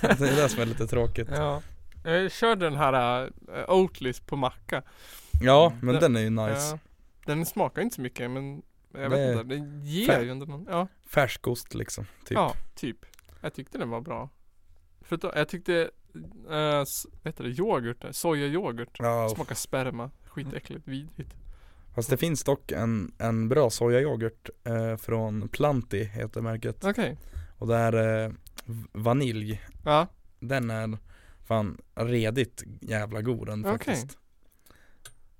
[SPEAKER 3] Det är det som är lite tråkigt Ja,
[SPEAKER 2] Ja. Jag körde den här äh, Oatlys på macka.
[SPEAKER 3] men den är ju nice
[SPEAKER 2] Ja. Eh, Den smakar inte så mycket men jag
[SPEAKER 3] Det
[SPEAKER 2] vet
[SPEAKER 3] är-
[SPEAKER 2] inte, den ger
[SPEAKER 3] Fä-
[SPEAKER 2] ju ändå någon, ja.
[SPEAKER 3] Färskost liksom, typ
[SPEAKER 2] Ja, typ. Jag tyckte den var bra. Förutom, jag tyckte, eh, s- vad heter det, yoghurt där, sojayoghurt.
[SPEAKER 3] Ja, och-
[SPEAKER 2] Smakar sperma, skitäckligt,
[SPEAKER 3] Mm.
[SPEAKER 2] vidrigt.
[SPEAKER 3] fast det finns dock en, en bra sojayoghurt eh, från Planti heter märket
[SPEAKER 2] Okej,
[SPEAKER 3] Och det är eh, v- vanilj,
[SPEAKER 2] ja.
[SPEAKER 3] den är fan redigt jävla god den
[SPEAKER 2] Okej.
[SPEAKER 3] faktiskt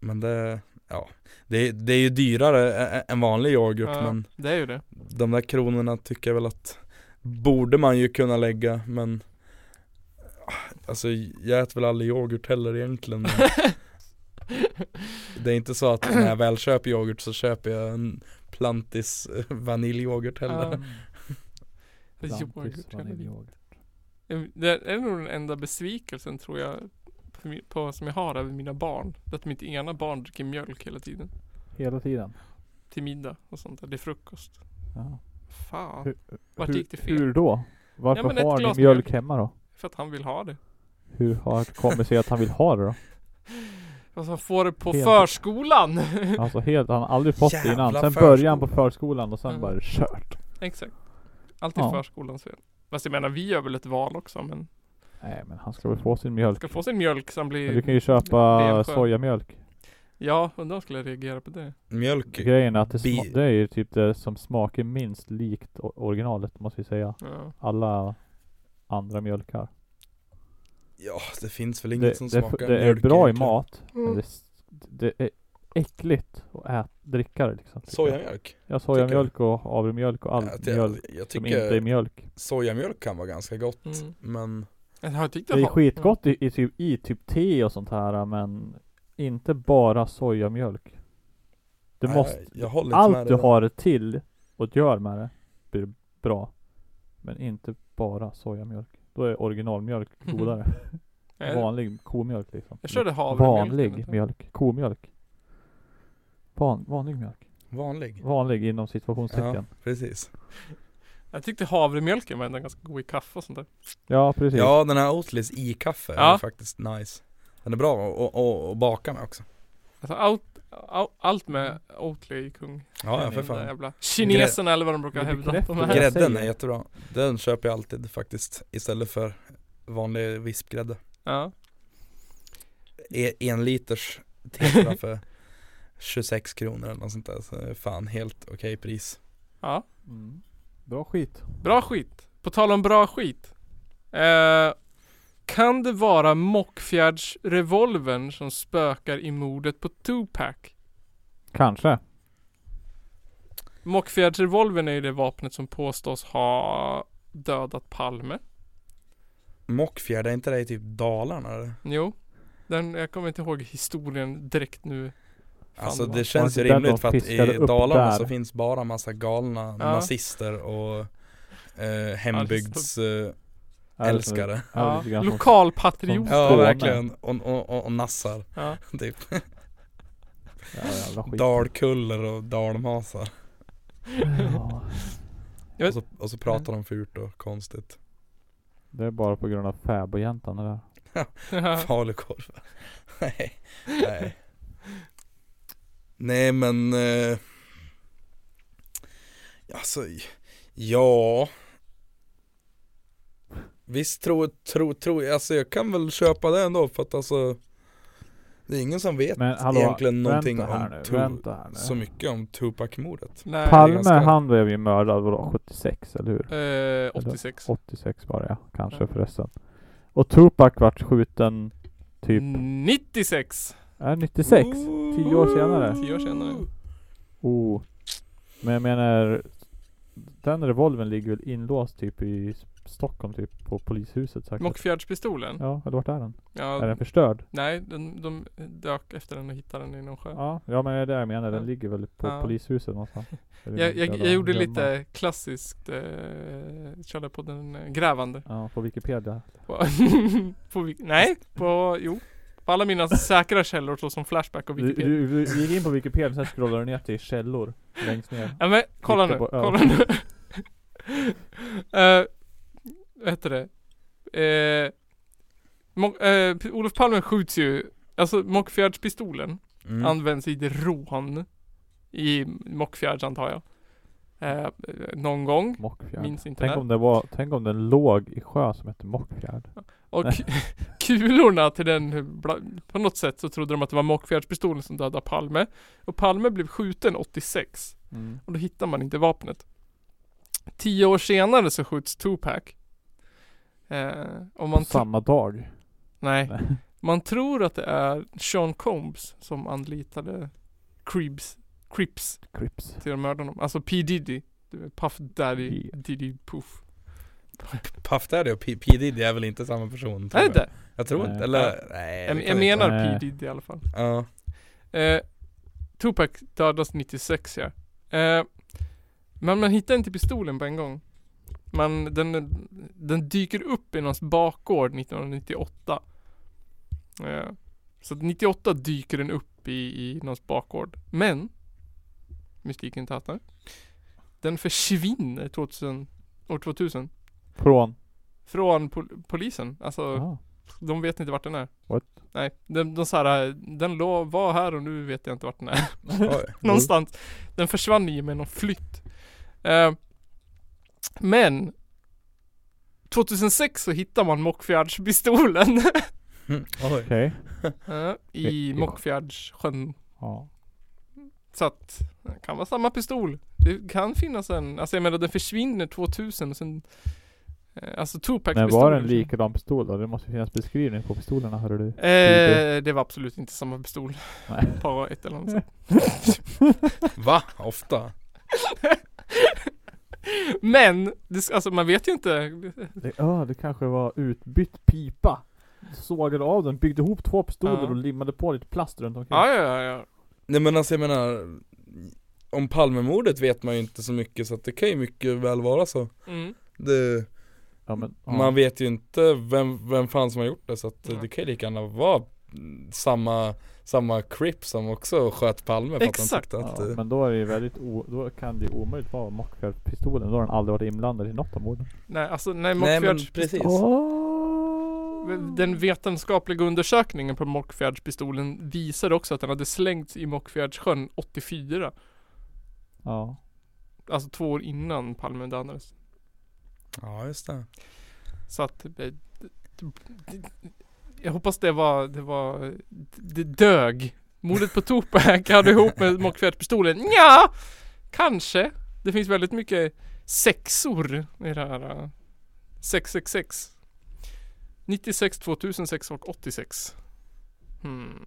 [SPEAKER 3] Men det, ja det, det är ju dyrare ä- ä- än vanlig yoghurt
[SPEAKER 2] ja,
[SPEAKER 3] men
[SPEAKER 2] Det är ju det.
[SPEAKER 3] De där kronorna tycker jag väl att Borde man ju kunna lägga men Alltså jag äter väl aldrig yoghurt heller egentligen men Det är inte så att när jag väl köper yoghurt så köper jag en Plantis eh, vaniljyoghurt heller
[SPEAKER 2] Ja.
[SPEAKER 1] Plantis
[SPEAKER 2] Yoghurt, eller-
[SPEAKER 1] vaniljyoghurt.
[SPEAKER 2] Ehm, Det är nog den enda besvikelsen tror jag på, min- på, som jag har över mina barn. Det är Att mitt ena barn dricker mjölk hela tiden.
[SPEAKER 1] Hela tiden.
[SPEAKER 2] Till middag och sånt där. Det är frukost.
[SPEAKER 1] Ja.
[SPEAKER 2] Fan.
[SPEAKER 1] Hur-
[SPEAKER 2] Vart
[SPEAKER 1] hur,
[SPEAKER 2] gick det fel?
[SPEAKER 1] Hur då?
[SPEAKER 2] Ja,
[SPEAKER 1] Varför
[SPEAKER 2] men ett
[SPEAKER 1] har
[SPEAKER 2] glas
[SPEAKER 1] ni mjölk
[SPEAKER 2] mjölk.
[SPEAKER 1] hemma då?
[SPEAKER 2] För att han vill ha det.
[SPEAKER 1] Hur har det kommit sig att han vill ha det då?
[SPEAKER 2] Fast han får det på
[SPEAKER 1] Helt-
[SPEAKER 2] förskolan.
[SPEAKER 1] Alltså helt, han har aldrig fått det innan.
[SPEAKER 3] Jävla
[SPEAKER 1] Sen började han på
[SPEAKER 3] förskola.
[SPEAKER 1] förskolan och sen
[SPEAKER 2] Mm.
[SPEAKER 1] bara är det kört.
[SPEAKER 2] Exakt. Alltid
[SPEAKER 1] Ja.
[SPEAKER 2] förskolans fel. Fast jag menar vi gör väl ett val också men
[SPEAKER 1] Nej men han ska väl få sin mjölk.
[SPEAKER 2] ska få sin mjölk så han
[SPEAKER 1] Men du
[SPEAKER 2] blir...
[SPEAKER 1] kan ju köpa
[SPEAKER 2] Benskör.
[SPEAKER 1] sojamjölk.
[SPEAKER 2] Ja, undrar om skulle jag reagera på det.
[SPEAKER 3] Mjölk.
[SPEAKER 1] Grejen är att det,
[SPEAKER 3] Bi-
[SPEAKER 1] sma- det är ju typ det som smakar minst likt o- originalet måste vi säga.
[SPEAKER 2] Ja.
[SPEAKER 1] Alla andra mjölkar.
[SPEAKER 3] Ja, det finns väl
[SPEAKER 1] Det,
[SPEAKER 3] inget som
[SPEAKER 1] det,
[SPEAKER 3] smakar
[SPEAKER 1] det är
[SPEAKER 3] mjölk
[SPEAKER 1] bra i
[SPEAKER 3] egentligen.
[SPEAKER 1] mat. Men
[SPEAKER 2] Mm.
[SPEAKER 1] det, s- det är äckligt att äta, dricka det liksom. tycker jag.
[SPEAKER 3] Sojamjölk?
[SPEAKER 1] Ja sojamjölk och havremjölk och all
[SPEAKER 3] Att jag,
[SPEAKER 1] mjölk
[SPEAKER 3] jag
[SPEAKER 1] som inte är
[SPEAKER 3] tycker
[SPEAKER 1] mjölk.
[SPEAKER 3] sojamjölk kan vara ganska gott.
[SPEAKER 2] Mm.
[SPEAKER 3] Men
[SPEAKER 2] Jag tyckte
[SPEAKER 1] Det är
[SPEAKER 2] var-
[SPEAKER 1] skitgott i, i, typ, i typ te och sånt här men inte bara sojamjölk. Du
[SPEAKER 3] nej,
[SPEAKER 1] måste,
[SPEAKER 3] jag håller inte med
[SPEAKER 1] allt du
[SPEAKER 3] dig där.
[SPEAKER 1] har till och gör med det blir bra. Men inte bara sojamjölk. Då är originalmjölk
[SPEAKER 2] Mhm.
[SPEAKER 1] godare.
[SPEAKER 2] Nej,
[SPEAKER 1] Vanlig komjölk liksom.
[SPEAKER 2] Jag körde havremjölk.
[SPEAKER 1] Vanlig mjölk. Komjölk. Van, vanlig mjölk.
[SPEAKER 3] Vanlig.
[SPEAKER 1] Vanlig inom situationstecken. Ja,
[SPEAKER 3] Precis.
[SPEAKER 2] Jag tyckte havremjölken var ändå ganska god i kaffe och sånt där.
[SPEAKER 1] precis.
[SPEAKER 3] Ja, den här Oatlys i kaffe
[SPEAKER 2] Ja.
[SPEAKER 3] är faktiskt nice. Den är bra att- att- att- att baka med också.
[SPEAKER 2] Alltså allt, allt, allt
[SPEAKER 1] Mm.
[SPEAKER 2] med Oatly i kung.
[SPEAKER 3] Ja, ja för
[SPEAKER 2] Den där
[SPEAKER 3] fan.
[SPEAKER 2] Jävla kineserna eller vad de brukar
[SPEAKER 1] Det
[SPEAKER 2] hävda.
[SPEAKER 1] bekräftar
[SPEAKER 2] De här.
[SPEAKER 1] jag det.
[SPEAKER 3] Grädden är
[SPEAKER 1] säger.
[SPEAKER 3] jättebra. Den köper jag alltid faktiskt istället för vanlig vispgrädde.
[SPEAKER 2] Ja.
[SPEAKER 3] E- en liters tetra för 26 kronor eller något sånt där. Så det är fan helt okej pris.
[SPEAKER 2] ja.
[SPEAKER 1] Mm. Bra skit.
[SPEAKER 2] Bra skit. På tal om bra skit. Eh, kan det vara Mockfjärdsrevolvern som spökar i mordet på Tupac?
[SPEAKER 1] Kanske.
[SPEAKER 2] Mockfjärdsrevolvern är ju det vapnet som påstås ha dödat Palme.
[SPEAKER 3] Mockfjärd, är inte det i typ Dalarna eller?
[SPEAKER 2] Jo. Den, jag kommer inte ihåg historien direkt nu. Fan,
[SPEAKER 3] Alltså
[SPEAKER 2] vad-
[SPEAKER 3] det känns ju
[SPEAKER 1] inte där de
[SPEAKER 3] rimligt för att i
[SPEAKER 1] fiskade upp
[SPEAKER 3] Dalarna
[SPEAKER 1] där?
[SPEAKER 3] så finns bara massa galna nazister och eh, hembygdsälskare.
[SPEAKER 1] Är det så? Ja,
[SPEAKER 2] Ja.
[SPEAKER 1] lite grann som-
[SPEAKER 2] Lokalpatriot.
[SPEAKER 1] som-
[SPEAKER 3] ja
[SPEAKER 1] Skåne.
[SPEAKER 3] verkligen, och, och, och, och nassar
[SPEAKER 2] Ja.
[SPEAKER 3] typ.
[SPEAKER 1] Ja, jävla skit.
[SPEAKER 3] Dalkuller och dalmasar.
[SPEAKER 1] Ja.
[SPEAKER 2] Jag-
[SPEAKER 3] Och så, och så pratar de fult och konstigt.
[SPEAKER 1] Det är bara på grund av fäbodjäntan det där.
[SPEAKER 3] Falukorv. Nej. Nej. Nej men. Eh, alltså. Ja. Visst tror, tror, tror, alltså jag kan väl köpa det ändå för att alltså. Det är ingen som vet
[SPEAKER 1] Men hallå,
[SPEAKER 3] egentligen någonting
[SPEAKER 1] vänta här
[SPEAKER 3] om
[SPEAKER 1] nu,
[SPEAKER 3] Tor-
[SPEAKER 1] vänta här nu.
[SPEAKER 3] så mycket om Tupac-mordet.
[SPEAKER 2] Nej.
[SPEAKER 1] Palme
[SPEAKER 3] ganska-
[SPEAKER 1] han blev ju mördad vadå, 76 eller hur?
[SPEAKER 2] Eh, 86.
[SPEAKER 1] 86 var det ja, kanske
[SPEAKER 2] Ja.
[SPEAKER 1] förresten. Och Tupac vart skjuten typ,
[SPEAKER 2] Mm. 96.
[SPEAKER 1] är 96? Tio år senare.
[SPEAKER 2] Tio år senare.
[SPEAKER 1] Oh. Men jag menar, den revolven ligger väl inlåst typ i S- Stockholm typ på polishuset säkert.
[SPEAKER 2] Mockfjärdspistolen.
[SPEAKER 1] Ja, eller vart är den?
[SPEAKER 2] Ja,
[SPEAKER 1] Är den förstörd?
[SPEAKER 2] nej, den, de dök efter den och hittade den i någon sjö.
[SPEAKER 1] Ja, ja men det är det jag menar. Den
[SPEAKER 2] Ja.
[SPEAKER 1] ligger väl på
[SPEAKER 2] Ja.
[SPEAKER 1] polishuset någonstans. Eller
[SPEAKER 2] Jag, jag,
[SPEAKER 1] jävla
[SPEAKER 2] jag gjorde
[SPEAKER 1] gömma.
[SPEAKER 2] lite klassiskt, eh, körde på den eh, grävande.
[SPEAKER 1] Ja, på Wikipedia.
[SPEAKER 2] På, på, vi- nej, på, jo. På alla mina säkra källor såsom Flashback och
[SPEAKER 1] Du,
[SPEAKER 2] Wikipedia.
[SPEAKER 1] du, du gick in på Wikipedia, sen scrollade du ner till källor längst ner.
[SPEAKER 2] Ja men kolla nu,
[SPEAKER 1] Klicka på- ja.
[SPEAKER 2] kolla nu. Eh, vad heter det? Eh, Mo- eh, P- Olof Palme skjuts ju, alltså Mockfjärdspistolen
[SPEAKER 3] Mm.
[SPEAKER 2] används i ett rån i Mockfjärds antar jag. Eh, någon gång,
[SPEAKER 1] Mockfjärd.
[SPEAKER 2] minns inte
[SPEAKER 1] Tänk
[SPEAKER 2] när.
[SPEAKER 1] om, det var, tänk om den låg i sjö som hette Mockfjärd.
[SPEAKER 2] Och kulorna till den, bla- på något sätt så trodde de att det var Mockfjärdspistolen som dödade Palme. Och Palme blev skjuten 86. Och då hittar man inte vapnet. Tio år senare så skjuts Tupac. Eh, och man,
[SPEAKER 1] På
[SPEAKER 2] tr-
[SPEAKER 1] samma dag.
[SPEAKER 2] nej.
[SPEAKER 1] Nej.
[SPEAKER 2] man tror att det är Sean Combs som anlitade Cribs, Crips
[SPEAKER 1] Crips.
[SPEAKER 2] till att mörda honom. Alltså P Diddy. Du vet, Puff Daddy,
[SPEAKER 1] Ja.
[SPEAKER 2] Diddy Puff.
[SPEAKER 3] Puff Daddy och P. P. Diddy är väl inte samma person? tror
[SPEAKER 2] Är
[SPEAKER 3] jag.
[SPEAKER 2] det
[SPEAKER 3] Jag tror
[SPEAKER 1] Nej.
[SPEAKER 3] inte, eller nej. det
[SPEAKER 2] Jag, jag
[SPEAKER 3] kan inte
[SPEAKER 2] menar
[SPEAKER 3] vara.
[SPEAKER 1] Nej.
[SPEAKER 2] P Diddy i alla fall.
[SPEAKER 3] Ja.
[SPEAKER 2] Eh, Tupac dödas 96 ja. Eh, men man hittar inte pistolen på en gång. Man, den, den dyker upp i någons bakgård 1998. Eh, så att 98 dyker den upp i, i någons bakgård. Men, mystiken tätnar. Den försvinner 2000, år 2000.
[SPEAKER 1] Från.
[SPEAKER 2] Från pol- polisen. Alltså,
[SPEAKER 1] Ja.
[SPEAKER 2] De vet inte vart den är.
[SPEAKER 1] What?
[SPEAKER 2] Nej, de, de så här, den låg, var här och nu vet jag inte vart den är.
[SPEAKER 1] Mm.
[SPEAKER 3] Oj.
[SPEAKER 2] Någonstans. Den försvann i med någon flytt. Eh, men 2006 så hittar man Mockfjärdspistolen
[SPEAKER 3] Mm, Oj.
[SPEAKER 1] Okej.
[SPEAKER 2] eh, i
[SPEAKER 1] Ja.
[SPEAKER 2] Mockfjärdssjön.
[SPEAKER 1] Ja.
[SPEAKER 2] Så att det kan vara samma pistol. Det kan finnas en, alltså jag menar den försvinner 2000 och sen eh, Alltså Tupacs
[SPEAKER 1] Men
[SPEAKER 2] pistol
[SPEAKER 1] var det en likadan pistol då? Det måste ju finnas beskrivning på pistolerna hörru du.
[SPEAKER 2] Eh, det var absolut inte samma pistol.
[SPEAKER 1] Nej.
[SPEAKER 2] Para ett eller annat sätt.
[SPEAKER 3] Va? Ofta?
[SPEAKER 2] Men, det, s- alltså man vet ju inte.
[SPEAKER 1] Det, ja, det kanske var utbytt pipa. Sågade av den, byggde ihop två pistoler
[SPEAKER 2] Ja.
[SPEAKER 1] och limmade på lite plast runt omkring.
[SPEAKER 2] Ja, ja, ja. ja.
[SPEAKER 3] Nej men alltså jag menar Om Palmemordet vet man ju inte så mycket så att det kan ju mycket väl vara så
[SPEAKER 2] Mm.
[SPEAKER 3] det,
[SPEAKER 1] Ja, men, ja.
[SPEAKER 3] Man vet ju inte vem, vem fan som har gjort det så att eh,
[SPEAKER 2] Nej.
[SPEAKER 3] det kan ju lika gärna vara mm, samma Samma Crip som också sköt Palme för att han
[SPEAKER 2] Exakt.
[SPEAKER 3] tyckte att
[SPEAKER 1] ja,
[SPEAKER 3] eh,
[SPEAKER 1] men då är det ju väldigt o- då kan det ju omöjligt vara Mockfjärdpistolen. Då har den aldrig varit inblandad i något av morden.
[SPEAKER 2] Nej, alltså nej,
[SPEAKER 3] Nej men
[SPEAKER 2] Mockfjärds
[SPEAKER 3] precis
[SPEAKER 1] Oh.
[SPEAKER 2] Den vetenskapliga undersökningen på Mockfjärdspistolen visade också att den hade slängts i Mockfjärdssjön 84.
[SPEAKER 1] Ja.
[SPEAKER 2] Alltså två år innan Palme dödades.
[SPEAKER 3] Ja just det
[SPEAKER 2] Så att eh, d- d- d- Jag hoppas det var, det var, det dög. Mordet på Tupac hade ihop med Mockfjärdspistolen. Ja, kanske. Det finns väldigt mycket sexor i det här. eh, 666. 96, 2006 och 86. Hmm.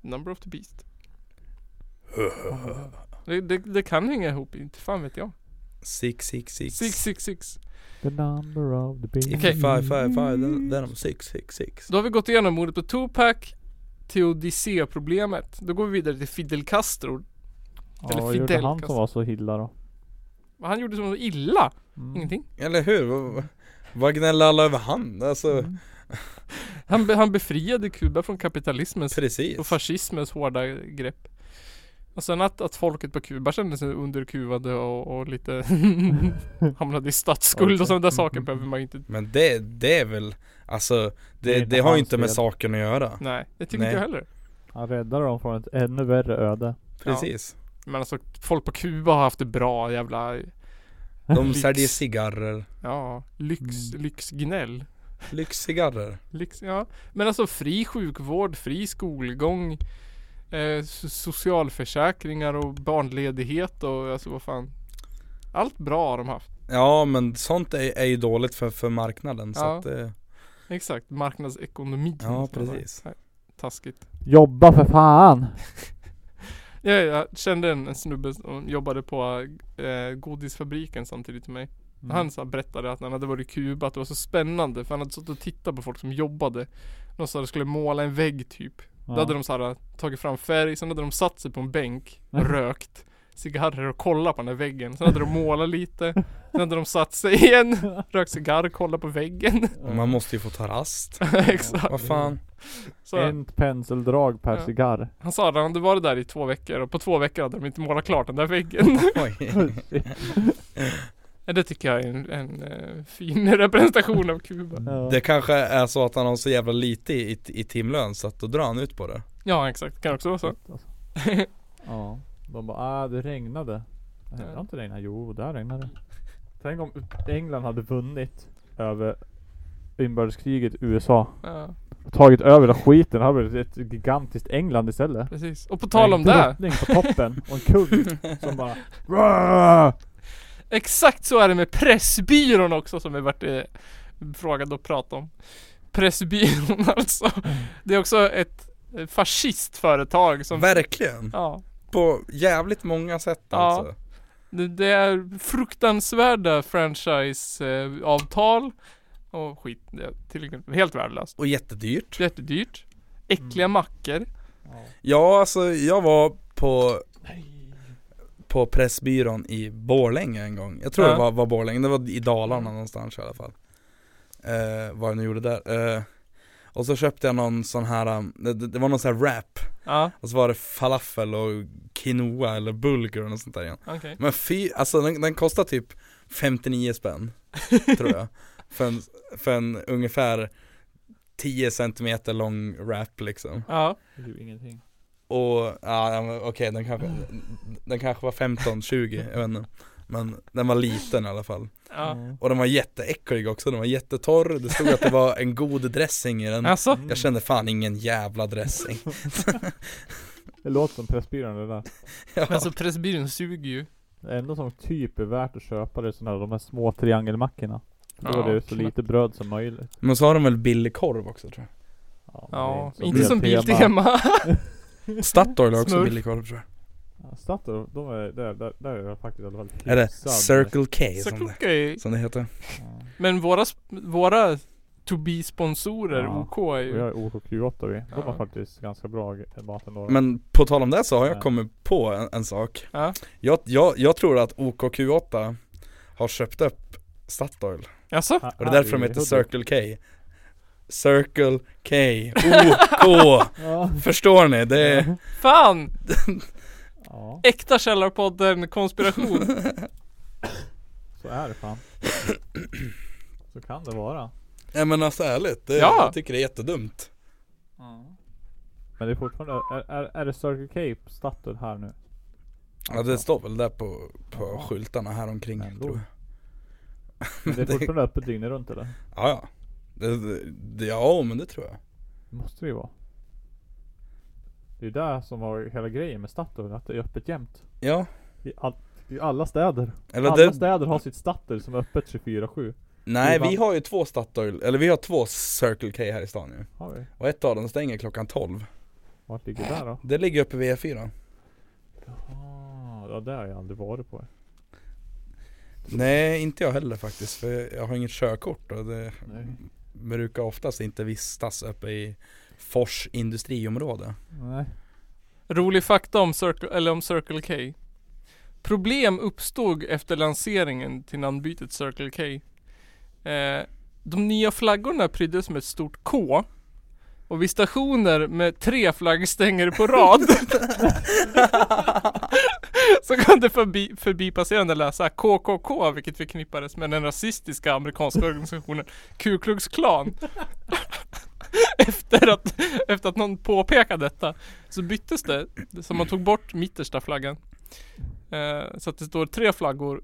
[SPEAKER 2] Number of the beast. Det, det, det kan hänga ihop, inte fan vet jag.
[SPEAKER 3] Six six six
[SPEAKER 2] 666.
[SPEAKER 1] The number of the beast.
[SPEAKER 3] If five five five then, then I'm six six six
[SPEAKER 2] Då har vi gått igenom mordet på Tupac, Teodicea-problemet. Då går vi vidare till Fidel Castro.
[SPEAKER 1] Ja,
[SPEAKER 2] Eller
[SPEAKER 1] vad gjorde
[SPEAKER 2] Fidel
[SPEAKER 1] han
[SPEAKER 2] Castro.
[SPEAKER 1] som var så illa då?
[SPEAKER 2] Vad han gjorde som var illa?
[SPEAKER 1] Mm.
[SPEAKER 2] Ingenting.
[SPEAKER 3] Eller hur? Vad- Vad gnäller alla över han? Alltså
[SPEAKER 1] Mm.
[SPEAKER 2] Han, be, han befriade Kuba från kapitalismens
[SPEAKER 3] precis
[SPEAKER 2] och fascismens hårda grepp. Och sen att, att folket på Kuba kände sig underkuvade och, och lite
[SPEAKER 1] Mm.
[SPEAKER 2] hamnade i statsskuld och sådana där saker behöver man ju inte.
[SPEAKER 3] Men det, det är väl Alltså
[SPEAKER 1] Det är
[SPEAKER 3] det,
[SPEAKER 1] inte
[SPEAKER 3] det har ju
[SPEAKER 1] hans
[SPEAKER 3] inte med
[SPEAKER 1] fel.
[SPEAKER 3] saken att göra
[SPEAKER 2] Nej, det tycker
[SPEAKER 3] Nej.
[SPEAKER 2] inte jag heller.
[SPEAKER 1] Han räddade dem från ett ännu värre öde.
[SPEAKER 3] Precis
[SPEAKER 2] Men alltså folk på Kuba har haft det bra jävla,
[SPEAKER 3] De
[SPEAKER 2] Lyx.
[SPEAKER 3] säljer cigarrer
[SPEAKER 2] ja, lyx,
[SPEAKER 1] Mm.
[SPEAKER 2] lyxgnäll.
[SPEAKER 3] Lyxcigarrer
[SPEAKER 2] Liksom, ja. Men alltså fri sjukvård, fri skolgång, eh, so- socialförsäkringar och barnledighet och alltså vad fan. Allt bra har de haft.
[SPEAKER 3] Ja men sånt är, är ju dåligt för, för marknaden så
[SPEAKER 2] Ja.
[SPEAKER 3] att eh,
[SPEAKER 2] Exakt, marknadsekonomi.
[SPEAKER 3] Ja, precis.
[SPEAKER 2] Nej, Taskigt.
[SPEAKER 1] Jobba för fan!
[SPEAKER 2] Ja, jag kände en, en snubbe som jobbade på eh, godisfabriken samtidigt med mig.
[SPEAKER 3] Mm.
[SPEAKER 1] Mm.
[SPEAKER 2] Han så här berättade att när han hade varit i Kuba att det var så spännande för han hade suttit och tittat på folk som jobbade. De sa att de skulle måla en vägg typ.
[SPEAKER 1] ja.
[SPEAKER 2] Då hade de så här, tagit fram färg, sen hade de satt sig på en bänk och rökt cigarrer och kollat på den där väggen. Sen hade de målat lite. Sen hade de satt sig igen, rökt cigarr, kollat på väggen.
[SPEAKER 3] Man måste ju få ta rast
[SPEAKER 2] Exakt.
[SPEAKER 3] Vad fan
[SPEAKER 2] Så,
[SPEAKER 1] Ett penseldrag per
[SPEAKER 2] Ja.
[SPEAKER 1] cigarr.
[SPEAKER 2] han sa att han hade varit där i två veckor och på två veckor hade de inte målat klart den där väggen.
[SPEAKER 3] Oj.
[SPEAKER 2] Ja, Det tycker jag är en, en eh, fin representation av Kuba.
[SPEAKER 3] Det kanske är så att han har så jävla lite i, i timlön så att då drar han ut på det
[SPEAKER 2] Ja exakt, kan också vara så.
[SPEAKER 1] Alltså. Ja. De bara, ah, det regnade. Nej, det har inte regnat. Jo, där regnade det. Tänk om England hade vunnit över inbördeskriget i USA.
[SPEAKER 2] Ja,
[SPEAKER 1] Och tagit över den skiten. Det hade blivit ett gigantiskt England istället.
[SPEAKER 2] precis. Och på tal om
[SPEAKER 1] En
[SPEAKER 2] det.
[SPEAKER 1] drottning på toppen och en kung som bara "Rah!"
[SPEAKER 2] Exakt så är det med Pressbyrån också som vi varit eh, frågade och pratade om. Pressbyrån alltså. Det är också ett eh, fascistföretag som...
[SPEAKER 3] Verkligen!
[SPEAKER 2] Ja.
[SPEAKER 3] På jävligt många sätt
[SPEAKER 2] Ja.
[SPEAKER 3] alltså
[SPEAKER 2] Det, det är fruktansvärda franchiseavtal och skit. Det är till exempel helt värdelöst.
[SPEAKER 3] Och jättedyrt
[SPEAKER 2] Jättedyrt. Äckliga
[SPEAKER 3] Mm.
[SPEAKER 2] mackor.
[SPEAKER 3] Ja alltså jag var på På Pressbyrån i Borlänge en gång Jag tror
[SPEAKER 2] Ja. Mm.
[SPEAKER 3] det var, var Borlänge, det var i Dalarna någonstans i alla fall eh, Vad jag nu gjorde där eh, Och så köpte jag någon sån här, um, det, det det var någon sån här wrap
[SPEAKER 2] Ja,
[SPEAKER 3] Och så var det falafel och quinoa eller bulgur och något sånt där igen
[SPEAKER 2] okej.
[SPEAKER 3] Men fy, alltså den, den kostar typ 59 spänn Tror jag För en, för en ungefär 10 centimeter lång rap liksom
[SPEAKER 2] Ja,
[SPEAKER 1] Det är ju ingenting.
[SPEAKER 3] Och, ja ja, men okej den kanske, den kanske var 15, 20, jag vet inte Men den var liten i alla fall
[SPEAKER 2] ja.
[SPEAKER 1] Mm.
[SPEAKER 3] Och den var jätteäcklig också, den var jättetorr Det stod att det var en god dressing i den
[SPEAKER 2] Alltså,
[SPEAKER 1] Mm.
[SPEAKER 3] Jag kände fan ingen jävla dressing
[SPEAKER 1] Det låter som Pressbyrån det där.
[SPEAKER 3] ja.
[SPEAKER 2] men alltså Pressbyrån suger ju.
[SPEAKER 1] Det enda som typ är värt att köpa det är sådana här, de här små triangelmackorna. Då
[SPEAKER 2] Ja,
[SPEAKER 1] är det ju så
[SPEAKER 2] knappt.
[SPEAKER 1] lite bröd som möjligt.
[SPEAKER 3] Men så har de väl billig korv också tror
[SPEAKER 1] Ja,
[SPEAKER 2] Ja,
[SPEAKER 1] det är
[SPEAKER 2] inte som
[SPEAKER 1] Biltema.
[SPEAKER 2] Biltema.
[SPEAKER 3] jag Statoil har också
[SPEAKER 2] Smurf.
[SPEAKER 3] billig korv tror
[SPEAKER 1] Ja, Statoil, de är, där, där, där är det faktiskt i alla fall
[SPEAKER 3] jag Är det
[SPEAKER 1] hyfsad-
[SPEAKER 3] Circle K som det,
[SPEAKER 2] Circle K.
[SPEAKER 3] som det heter?
[SPEAKER 1] Ja.
[SPEAKER 2] Men våra, sp- våra to be-sponsorer,
[SPEAKER 1] Ja.
[SPEAKER 2] OK, är
[SPEAKER 1] Vi
[SPEAKER 2] ju...
[SPEAKER 1] har OKQ8 vi. De
[SPEAKER 2] Ja.
[SPEAKER 1] har faktiskt ganska bra g- mat ändå.
[SPEAKER 3] Men på tal om det så har jag
[SPEAKER 1] Ja.
[SPEAKER 3] kommit på en, en sak
[SPEAKER 2] Ja.
[SPEAKER 3] jag, jag, jag tror att OKQ8 har köpt upp Statoil
[SPEAKER 2] Alltså,
[SPEAKER 1] Ah,
[SPEAKER 3] Och det är därför de
[SPEAKER 1] i
[SPEAKER 3] heter
[SPEAKER 1] Hudik.
[SPEAKER 3] Circle K Circle K OK
[SPEAKER 1] Ja.
[SPEAKER 3] Förstår ni? Det är
[SPEAKER 2] fan!
[SPEAKER 1] ja,
[SPEAKER 2] Äkta Källarpodden konspiration.
[SPEAKER 1] så är det fan. Så kan det vara.
[SPEAKER 3] Nej men alltså ärligt, det,
[SPEAKER 2] Ja.
[SPEAKER 3] jag tycker det är jättedumt
[SPEAKER 1] Men det är fortfarande, är, är, är det Circle K på Statoil här nu?
[SPEAKER 3] Ja det står väl där på, på
[SPEAKER 1] Ja.
[SPEAKER 3] skyltarna här omkring
[SPEAKER 1] Ändå.
[SPEAKER 3] tror jag
[SPEAKER 1] Men det är fortfarande öppet dygnet runt eller?
[SPEAKER 3] Ja ja det, det- det, Ja men det tror jag
[SPEAKER 1] Det måste det ju vara. Det är ju där som var hela grejen med Statoil, att det är öppet jämt.
[SPEAKER 3] Ja,
[SPEAKER 1] I, all, i alla städer.
[SPEAKER 3] eller
[SPEAKER 1] alla
[SPEAKER 3] det,
[SPEAKER 1] städer har sitt Statoil som är öppet 24-7.
[SPEAKER 3] Nej
[SPEAKER 1] det är
[SPEAKER 3] vi har ju två Statoil, eller vi har två Circle K här i stan ju
[SPEAKER 1] Har vi?
[SPEAKER 3] Och ett av dem stänger klockan 12
[SPEAKER 1] Vart ligger det där då?
[SPEAKER 3] Det ligger uppe vid E E4
[SPEAKER 1] Jaha, ja det har jag aldrig varit på.
[SPEAKER 3] Nej inte jag heller faktiskt för jag har inget körkort och det
[SPEAKER 1] Nej.
[SPEAKER 3] brukar oftast inte vistas uppe i Fors industriområde
[SPEAKER 1] Nej.
[SPEAKER 2] Rolig fakta om Circle, eller om Circle K. Problem uppstod efter lanseringen till namnbytet Circle K. Eh, de nya flaggorna pryddes med ett stort K. Och vid stationer med tre flaggstänger på rad så kunde förbi, förbipasserande läsa KKK vilket förknippades med den rasistiska amerikanska organisationen Ku Klux Klan. efter, att, efter att någon påpekade detta så byttes det. Så man tog bort mittersta flaggan. Eh, så att det står tre flaggor.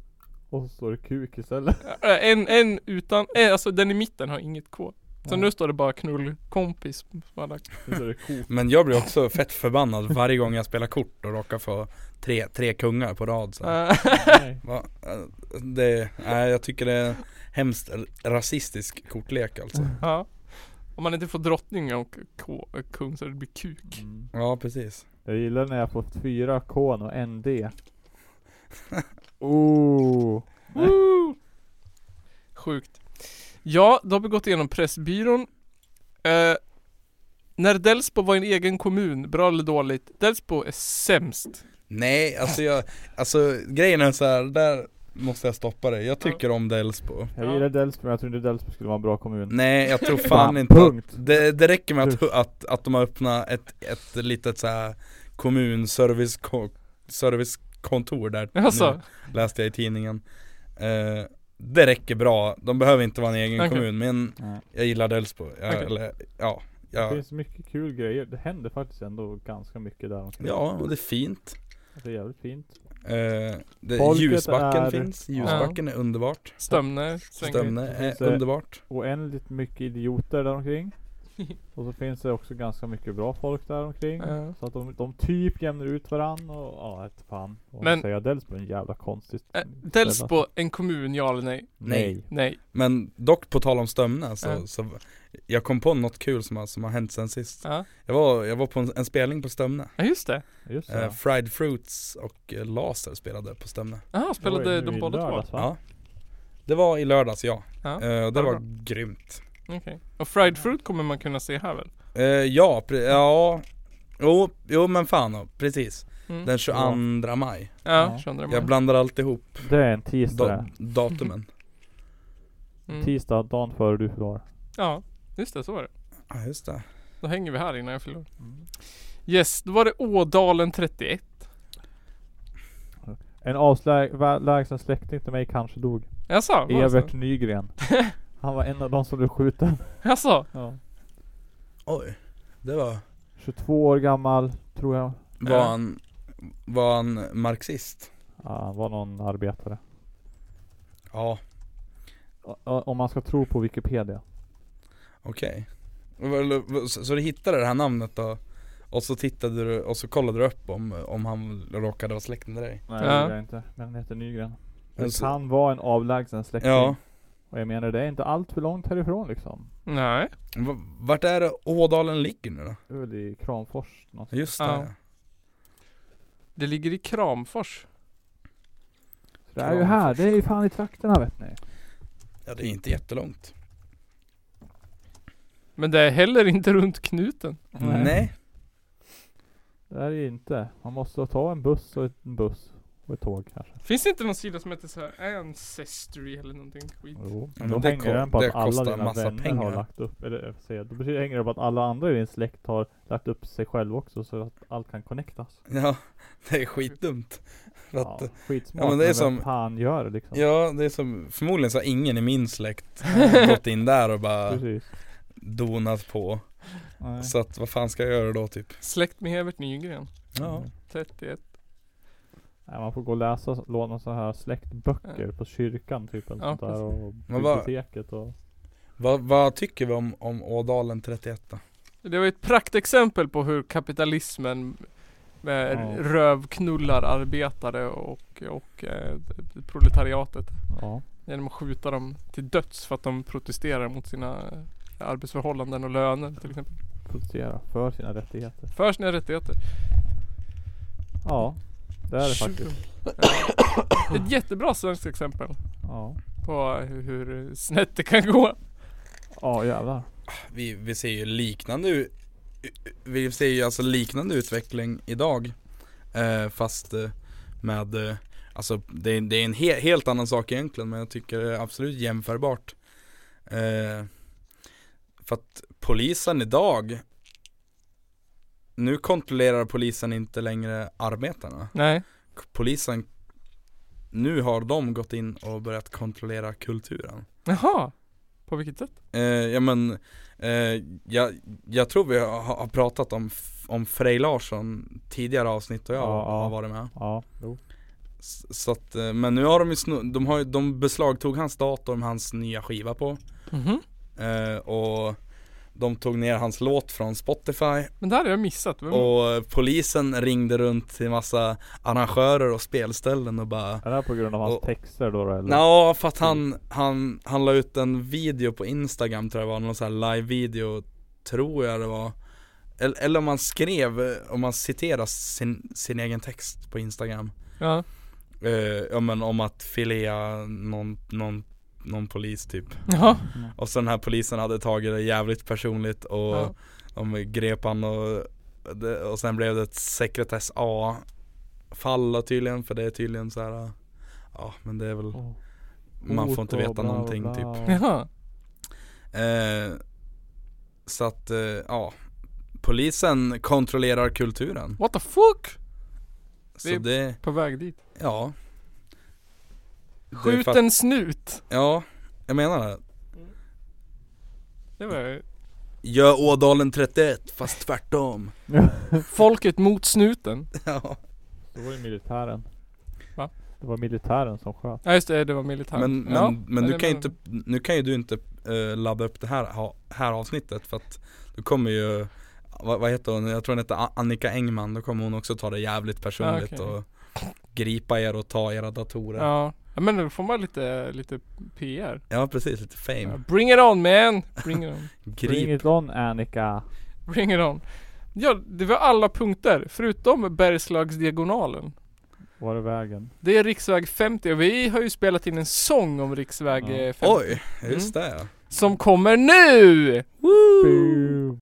[SPEAKER 1] Och så står det kuk istället.
[SPEAKER 2] Eh, en, en utan, eh, alltså den i mitten har inget K. Så
[SPEAKER 1] Ja.
[SPEAKER 2] nu står det bara knullkompis på alla
[SPEAKER 1] Nu står det kok.
[SPEAKER 3] Men jag blir också fett förbannad varje gång jag spelar kort och råkar få tre, tre kungar på rad så.
[SPEAKER 2] Eh,
[SPEAKER 1] Nej.
[SPEAKER 3] Va? Eh, Det, nej jag tycker det är hemskt r- rasistisk kortlek alltså
[SPEAKER 2] ja. Om man inte får drottning och K, och kung så det blir kuk.
[SPEAKER 1] Mm.
[SPEAKER 3] Ja precis
[SPEAKER 1] Jag gillar när jag får fyra K och en D. Oh.
[SPEAKER 2] Woo! Sjukt. Ja, då har vi gått igenom Pressbyrån. Eh, när Delsbo var en egen kommun, bra eller dåligt? Delsbo är sämst.
[SPEAKER 3] Nej alltså jag, alltså grejen är så här, där måste jag stoppa dig Jag tycker om Delsbo
[SPEAKER 1] Jag
[SPEAKER 2] Ja.
[SPEAKER 1] gillar Delsbo men jag tror inte Delsbo skulle vara en bra kommun.
[SPEAKER 3] Nej jag tror fan
[SPEAKER 1] Fan,
[SPEAKER 3] inte att,
[SPEAKER 1] punkt.
[SPEAKER 3] det, det räcker med att, att, att de har öppnat ett, ett litet så här kommunservice servicekontor där
[SPEAKER 2] Alltså.
[SPEAKER 3] nu, Läste jag i tidningen eh, Det räcker bra, de behöver inte vara en egen
[SPEAKER 2] Okej.
[SPEAKER 3] kommun men
[SPEAKER 1] Nej.
[SPEAKER 3] jag gillar Delsbo, jag,
[SPEAKER 2] Okej.
[SPEAKER 3] eller, ja,
[SPEAKER 1] Det
[SPEAKER 3] jag,
[SPEAKER 1] finns mycket kul grejer. Det händer faktiskt ändå ganska mycket där omkring.
[SPEAKER 3] ja och det är fint
[SPEAKER 1] Det är jävligt fint.
[SPEAKER 3] eh, det,
[SPEAKER 1] Folket
[SPEAKER 3] Ljusbacken
[SPEAKER 1] är-
[SPEAKER 3] finns, Ljusbacken är underbart
[SPEAKER 2] Stömne, svänger.
[SPEAKER 3] Stömne
[SPEAKER 1] Det finns,
[SPEAKER 3] är
[SPEAKER 1] eh,
[SPEAKER 3] underbart
[SPEAKER 1] Oändligt mycket idioter där omkring. Och så finns det också ganska mycket bra folk där omkring.
[SPEAKER 2] Ja.
[SPEAKER 1] Så att de, de typ jämnar ut varann och ja, ett fan. Och
[SPEAKER 2] Men-
[SPEAKER 1] Men, säga Delsbo är en jävla konstig
[SPEAKER 2] Eh,
[SPEAKER 1] ställe.
[SPEAKER 2] Delsbo, en kommun, ja eller nej?
[SPEAKER 1] Nej.
[SPEAKER 2] Nej.
[SPEAKER 3] Men dock på tal om Stömne så,
[SPEAKER 2] Ja.
[SPEAKER 3] så jag kom på något kul som har, som har hänt sen sist
[SPEAKER 2] Ja,
[SPEAKER 3] Jag var, jag var på en, en spelning på Stömne
[SPEAKER 2] ja just det.
[SPEAKER 1] Just det.
[SPEAKER 3] eh, Fried Fruits och eh, Laser spelade på Stömne
[SPEAKER 2] Jaha,
[SPEAKER 1] Det var ju
[SPEAKER 2] spelade
[SPEAKER 1] nu
[SPEAKER 2] de
[SPEAKER 1] i
[SPEAKER 2] båda två?
[SPEAKER 1] lördags, va?
[SPEAKER 3] Ja Det var i lördags ja,
[SPEAKER 2] Ja,
[SPEAKER 3] eh, och det
[SPEAKER 2] var
[SPEAKER 3] var
[SPEAKER 2] bra.
[SPEAKER 3] grymt
[SPEAKER 2] Okej. Och Fried Fruit kommer man kunna se här väl?
[SPEAKER 3] eh, Ja, pre- ja Jo, jo men fan ja, precis
[SPEAKER 2] Mm.
[SPEAKER 3] Den 22 maj
[SPEAKER 2] ja,
[SPEAKER 1] Ja.
[SPEAKER 2] 22 maj.
[SPEAKER 3] Jag blandar alltid ihop
[SPEAKER 1] Det är en tisdag
[SPEAKER 3] da-
[SPEAKER 1] det.
[SPEAKER 3] datumen
[SPEAKER 2] Mm.
[SPEAKER 1] Tisdag, dagen före du förlorar.
[SPEAKER 2] Ja, just det, så var det.
[SPEAKER 3] Ja just det
[SPEAKER 2] Då hänger vi här innan jag fyller år. Yes, då var det Ådalen 31.
[SPEAKER 1] En avlägsen släkting till mig kanske dog.
[SPEAKER 2] Jaså? var det så?
[SPEAKER 1] Evert Nygren. Han var en av de som blev skjuten.
[SPEAKER 2] Jaså?
[SPEAKER 1] Ja.
[SPEAKER 3] Oj, det var...
[SPEAKER 1] 22 år gammal, tror jag.
[SPEAKER 3] Var
[SPEAKER 2] Ja.
[SPEAKER 3] han, var han marxist?
[SPEAKER 1] Ja, han var någon arbetare.
[SPEAKER 3] Ja,
[SPEAKER 1] O- o- Om man ska tro på Wikipedia.
[SPEAKER 3] okej. Vad- Så så du hittade det här namnet då? Och så tittade du, och så kollade du upp om, om han råkade vara släkt med dig?
[SPEAKER 1] Nej,
[SPEAKER 2] Ja.
[SPEAKER 1] det gjorde jag inte. Men han heter Nygren.
[SPEAKER 3] Men
[SPEAKER 1] Men
[SPEAKER 3] så-
[SPEAKER 1] han var en avlägsen släkting.
[SPEAKER 3] Alltså- Ja.
[SPEAKER 1] Och jag menar, det är inte allt för långt härifrån liksom.
[SPEAKER 2] Nej.
[SPEAKER 3] V- Vart är det Ådalen ligger nu då?
[SPEAKER 1] Det är väl i Kramfors någonstans.
[SPEAKER 3] Just det.
[SPEAKER 2] Ja. Det ligger i Kramfors.
[SPEAKER 1] Så Det är ju här, det är ju fan i trakterna vet ni.
[SPEAKER 3] Ja det är inte jättelångt.
[SPEAKER 2] Men det är heller inte runt knuten.
[SPEAKER 1] Nej.
[SPEAKER 3] Nej.
[SPEAKER 1] Det är det ju inte. Man måste ta en buss och ett, en buss. Och ett tåg kanske.
[SPEAKER 2] Finns det inte någon sida som heter så här Ancestry eller någonting skit?
[SPEAKER 1] Jo.
[SPEAKER 3] men
[SPEAKER 1] då
[SPEAKER 3] det
[SPEAKER 1] hänger
[SPEAKER 3] ko-
[SPEAKER 1] den på
[SPEAKER 3] det
[SPEAKER 1] att alla
[SPEAKER 3] kostar
[SPEAKER 1] dina
[SPEAKER 3] massa
[SPEAKER 1] vänner
[SPEAKER 3] pengar.
[SPEAKER 1] har lagt upp. Eller jag får säga, då betyder det hänger det på att alla andra i din släkt har lagt upp sig själv också. Så att allt kan connectas.
[SPEAKER 3] Ja, det är skitdumt. För att,
[SPEAKER 1] Ja,
[SPEAKER 3] ja.
[SPEAKER 1] skitsmart.
[SPEAKER 3] ja, men det är
[SPEAKER 1] vem
[SPEAKER 3] som-
[SPEAKER 1] fan gör det liksom.
[SPEAKER 3] det är som, förmodligen så har ingen i min släkt eh, gått in där och bara
[SPEAKER 1] Precis.
[SPEAKER 3] donat på.
[SPEAKER 1] Nej.
[SPEAKER 3] Så att vad fan ska jag göra då typ?
[SPEAKER 2] Släkt med Evert Nygren.
[SPEAKER 3] Ja.
[SPEAKER 1] Mm.
[SPEAKER 2] 31.
[SPEAKER 1] Nej, man får gå och läsa, låna så här släktböcker på kyrkan typ. Eller
[SPEAKER 2] Ja,
[SPEAKER 1] sånt där, och
[SPEAKER 3] Men vad-
[SPEAKER 1] biblioteket och...
[SPEAKER 3] Vad, vad tycker vi om, om Ådalen 31 då?
[SPEAKER 2] Det var ju ett praktexempel på hur kapitalismen med
[SPEAKER 1] Ja.
[SPEAKER 2] rövknullar arbetare och, och eh, proletariatet
[SPEAKER 1] Ja.
[SPEAKER 2] genom att skjuta dem till döds för att de protesterar mot sina eh, arbetsförhållanden och löner till exempel.
[SPEAKER 1] Protestera för sina rättigheter.
[SPEAKER 2] För sina rättigheter.
[SPEAKER 1] Ja. Det är det faktiskt.
[SPEAKER 2] Ja. Ett jättebra svenskt exempel
[SPEAKER 1] Ja.
[SPEAKER 2] på hur- hur snett det kan gå.
[SPEAKER 1] Ja jävlar.
[SPEAKER 3] Vi, vi ser ju liknande u- u- Vi ser ju alltså liknande utveckling idag eh, Fast eh, med eh, Alltså det, är- det är en he, helt annan sak egentligen men jag tycker det är absolut jämförbart eh, För att polisen idag Nu kontrollerar polisen inte längre arbetarna
[SPEAKER 2] Nej.
[SPEAKER 3] K- Polisen Nu har de gått in och börjat kontrollera kulturen
[SPEAKER 2] Jaha. På vilket sätt?
[SPEAKER 3] Eh, ja men, eh, jag, jag tror vi har, har pratat om, f- om Frej Larsson tidigare avsnitt och jag
[SPEAKER 1] Ja, ja.
[SPEAKER 3] har varit med.
[SPEAKER 1] Ja. Jo.
[SPEAKER 3] S- Så att, eh, men nu har de ju snu, de, har, ju- de beslagtog hans dator med hans nya skiva på.
[SPEAKER 2] Mhm.
[SPEAKER 3] Eh, och de tog ner hans låt från Spotify
[SPEAKER 2] Men det här har jag missat.
[SPEAKER 1] Mm.
[SPEAKER 2] Vem-
[SPEAKER 3] och polisen ringde runt till massa arrangörer och spelställen och bara
[SPEAKER 1] Är det här på grund av hans
[SPEAKER 3] Och-
[SPEAKER 1] texter då eller?
[SPEAKER 3] Ja, för att han, han, han la ut en video på Instagram tror jag det var, någon sån här live-video tror jag det var eller, eller om man skrev, eh, om man citerar sin, sin egen text på Instagram
[SPEAKER 2] Ja.
[SPEAKER 3] eh, Ja men om att filea någon, någon, någon polis typ
[SPEAKER 2] Jaha.
[SPEAKER 1] Mm.
[SPEAKER 3] Och så den här polisen hade tagit det jävligt personligt och
[SPEAKER 2] Ja.
[SPEAKER 3] de grep han och, det- och sen blev det ett sekretess A-fall då tydligen för det är tydligen så här Ja men det är väl
[SPEAKER 1] Oh.
[SPEAKER 3] man får inte
[SPEAKER 1] Hot och bla,
[SPEAKER 3] veta någonting
[SPEAKER 1] bla,
[SPEAKER 3] typ.
[SPEAKER 1] och-
[SPEAKER 2] Jaha.
[SPEAKER 3] Eh, så att, eh, ja. Polisen kontrollerar kulturen.
[SPEAKER 2] What the fuck?
[SPEAKER 3] Så
[SPEAKER 2] Det-
[SPEAKER 3] det,
[SPEAKER 2] På väg dit.
[SPEAKER 3] ja. Det är
[SPEAKER 2] Skjut
[SPEAKER 3] för att-
[SPEAKER 2] en snut.
[SPEAKER 3] Ja, jag menar det.
[SPEAKER 2] Det var ju-
[SPEAKER 3] Gör Ådalen 31 fast tvärtom.
[SPEAKER 2] folket mot snuten.
[SPEAKER 3] ja.
[SPEAKER 1] Det var ju militären.
[SPEAKER 2] Va?
[SPEAKER 1] Det var militären som sköt.
[SPEAKER 2] Ja just det, det var militären.
[SPEAKER 3] Men, men,
[SPEAKER 2] ja,
[SPEAKER 3] men du
[SPEAKER 2] det
[SPEAKER 3] kan ju
[SPEAKER 2] var-
[SPEAKER 3] inte, nu kan ju du inte eh, ladda upp det här, ha- här avsnittet för att du kommer ju vad, vad heter hon? Jag tror hon heter A- Annika Engman, då kommer hon också ta det jävligt
[SPEAKER 1] Ah,
[SPEAKER 3] personligt
[SPEAKER 2] okej.
[SPEAKER 3] och gripa er och ta era datorer. Ja,
[SPEAKER 2] Ja. ja men då får man lite, lite PR.
[SPEAKER 3] precis, lite fame.
[SPEAKER 2] Ja, bring it on man! Bring it on.
[SPEAKER 1] Bring
[SPEAKER 3] Grip.
[SPEAKER 1] it on Annika.
[SPEAKER 2] Bring it on. Ja, det var alla punkter förutom Bergslagsdiagonalen.
[SPEAKER 1] Var är vägen?
[SPEAKER 2] Det är riksväg 50 och vi har ju spelat in en sång om riksväg
[SPEAKER 1] Ja.
[SPEAKER 2] eh, 50.
[SPEAKER 3] Oj, just det ja.
[SPEAKER 2] Som kommer nu!
[SPEAKER 1] Boo.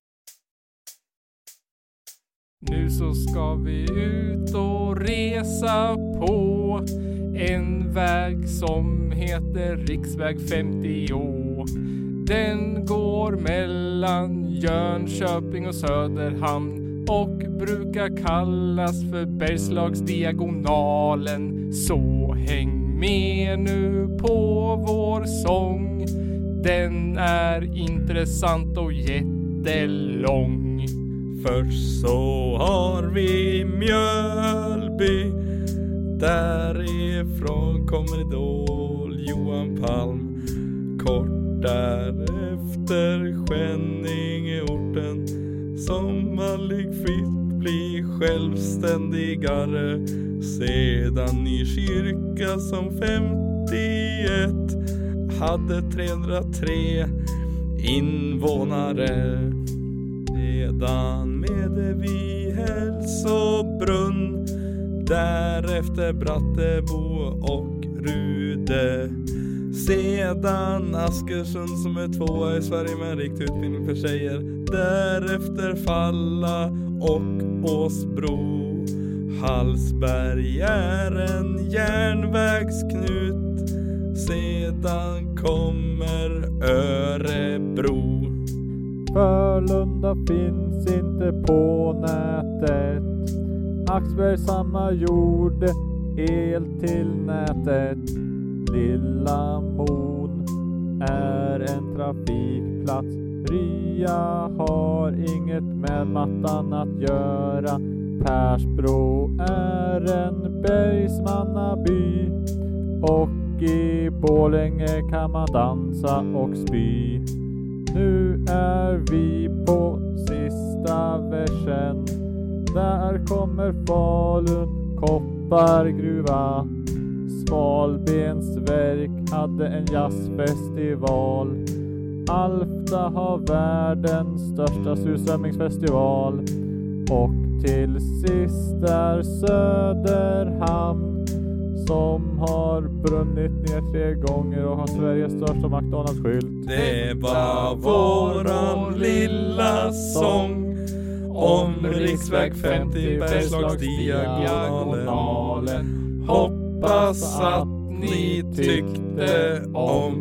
[SPEAKER 2] Nu så ska vi ut och resa på en väg som heter riksväg 50 Den går mellan Jönköping och Söderhamn och brukar kallas för Bergslagsdiagonalen. Så häng med nu på vår sång. Den är intressant och jätte jättelång.
[SPEAKER 3] Först så har vi Mjölby Därifrån kommer Idol Johan Palm Kort därefter Skänningeorten Som aldrig fritt blir självständigare Sedan Nykyrka som 51 Hade 303 invånare Redan Medevi hälsobrunn Därefter Brattebo och Rude Sedan Askersund som är tvåa i Sverige med en riktig utbildning för tjejer Därefter Falla och Åsbro Hallsberg är en järnvägsknut Sedan kommer Örebro
[SPEAKER 1] Frölunda finns inte på nätet. Axberg samma jord, el till nätet. Lilla Mon är en trafikplats. Rya har inget med mattan att göra. Persbro är en bergsmannaby. Och i Borlänge kan man dansa och spy. Nu är vi på sista versen. Där kommer Falun koppargruva. Svalbensverk hade en jazzfestival. Alfta har världens största surströmmingsfestival. Och till sist är Söderhamn som har brunnit ner tre gånger och har Sveriges största McDonalds-skylt.
[SPEAKER 3] Det var våran lilla sång om riksväg 50 Bergslagsdiagonalen. Hoppas att ni tyckte om,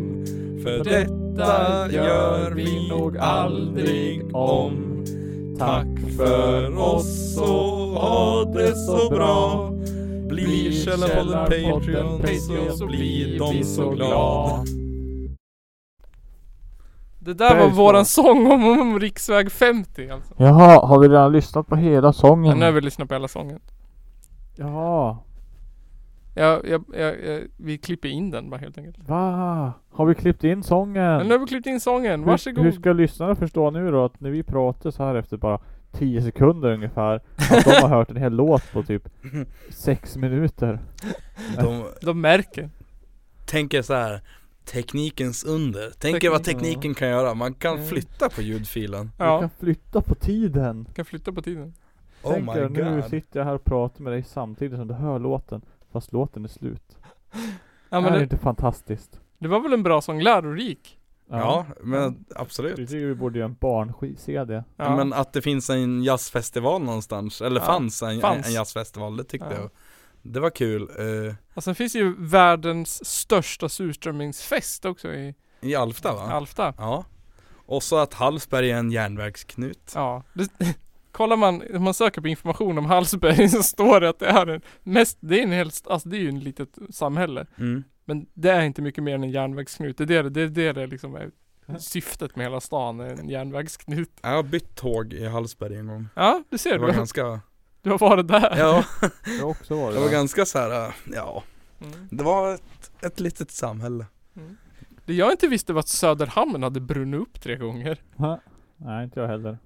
[SPEAKER 3] för detta gör vi nog aldrig om. Tack för oss och ha det så bra. Blir Källarpodden Patreon så blir de så glada.
[SPEAKER 2] Det där var
[SPEAKER 1] Bergslag.
[SPEAKER 2] våran sång om, om riksväg 50 alltså.
[SPEAKER 1] Jaha, har vi redan lyssnat på hela
[SPEAKER 2] Men
[SPEAKER 1] sången?
[SPEAKER 2] nu har vi lyssnat på hela sången.
[SPEAKER 1] Jaha,
[SPEAKER 2] Jag, jag, jag, jag, vi klipper in den bara helt enkelt.
[SPEAKER 1] va? Har vi klippt in sången?
[SPEAKER 2] Men nu har vi klippt in sången,
[SPEAKER 1] Hur, hur
[SPEAKER 2] varsågod.
[SPEAKER 1] ska lyssnarna förstå nu då att när vi pratar så här efter bara 10 sekunder ungefär, att de har hört en hel låt på typ 6 minuter?
[SPEAKER 3] De
[SPEAKER 2] De märker.
[SPEAKER 3] tänker så här teknikens under. Tänk er vad
[SPEAKER 2] Teknik-
[SPEAKER 3] tekniken kan göra. Man kan
[SPEAKER 2] Mm.
[SPEAKER 3] flytta på ljudfilen.
[SPEAKER 1] Vi
[SPEAKER 2] Ja,
[SPEAKER 1] kan flytta på tiden!
[SPEAKER 2] kan flytta på tiden.
[SPEAKER 3] Oh
[SPEAKER 1] Tänk er,
[SPEAKER 3] my
[SPEAKER 1] nu
[SPEAKER 3] god.
[SPEAKER 1] sitter jag här och pratar med dig samtidigt som du hör låten, fast låten är slut.
[SPEAKER 2] Ja
[SPEAKER 1] är
[SPEAKER 2] men
[SPEAKER 1] det
[SPEAKER 2] det,
[SPEAKER 1] inte fantastiskt?
[SPEAKER 2] det var väl en bra sång, lärorik.
[SPEAKER 3] Ja, men
[SPEAKER 1] Jag
[SPEAKER 3] absolut.
[SPEAKER 1] tycker vi borde göra en barn-CD.
[SPEAKER 2] Ja.
[SPEAKER 3] Men att det finns en jazzfestival någonstans, eller
[SPEAKER 2] Ja,
[SPEAKER 3] fanns, en,
[SPEAKER 2] fanns.
[SPEAKER 3] en jazzfestival, det tyckte
[SPEAKER 2] Ja.
[SPEAKER 3] jag. Det var kul. eh,
[SPEAKER 2] Och sen finns ju världens största surströmmingsfest också i
[SPEAKER 3] I Alfta va?
[SPEAKER 2] Alfta.
[SPEAKER 3] Ja. Och så att Hallsberg är en järnvägsknut.
[SPEAKER 2] Ja. Det, kollar man, om man söker på information om Hallsberg så står det att det är en mest, det är en helt, alltså det är ju en litet samhälle.
[SPEAKER 3] Mm.
[SPEAKER 2] Men det är inte mycket mer än en järnvägsknut. Det är det det, är det, det liksom är syftet med hela stan, är en järnvägsknut.
[SPEAKER 3] Jag har bytt tåg i Hallsberg en gång.
[SPEAKER 2] Ja, du
[SPEAKER 3] Det
[SPEAKER 2] ser,
[SPEAKER 3] var
[SPEAKER 2] du,
[SPEAKER 3] ganska,
[SPEAKER 2] du har varit där.
[SPEAKER 3] ja,
[SPEAKER 1] Jag har också varit
[SPEAKER 3] det var
[SPEAKER 1] där.
[SPEAKER 3] ganska så här. eh, ja.
[SPEAKER 2] Mm.
[SPEAKER 3] Det var ett, ett litet samhälle.
[SPEAKER 2] Det jag inte visste var att Söderhamn hade brunnit upp tre gånger.
[SPEAKER 1] Hä? Nej, inte jag heller.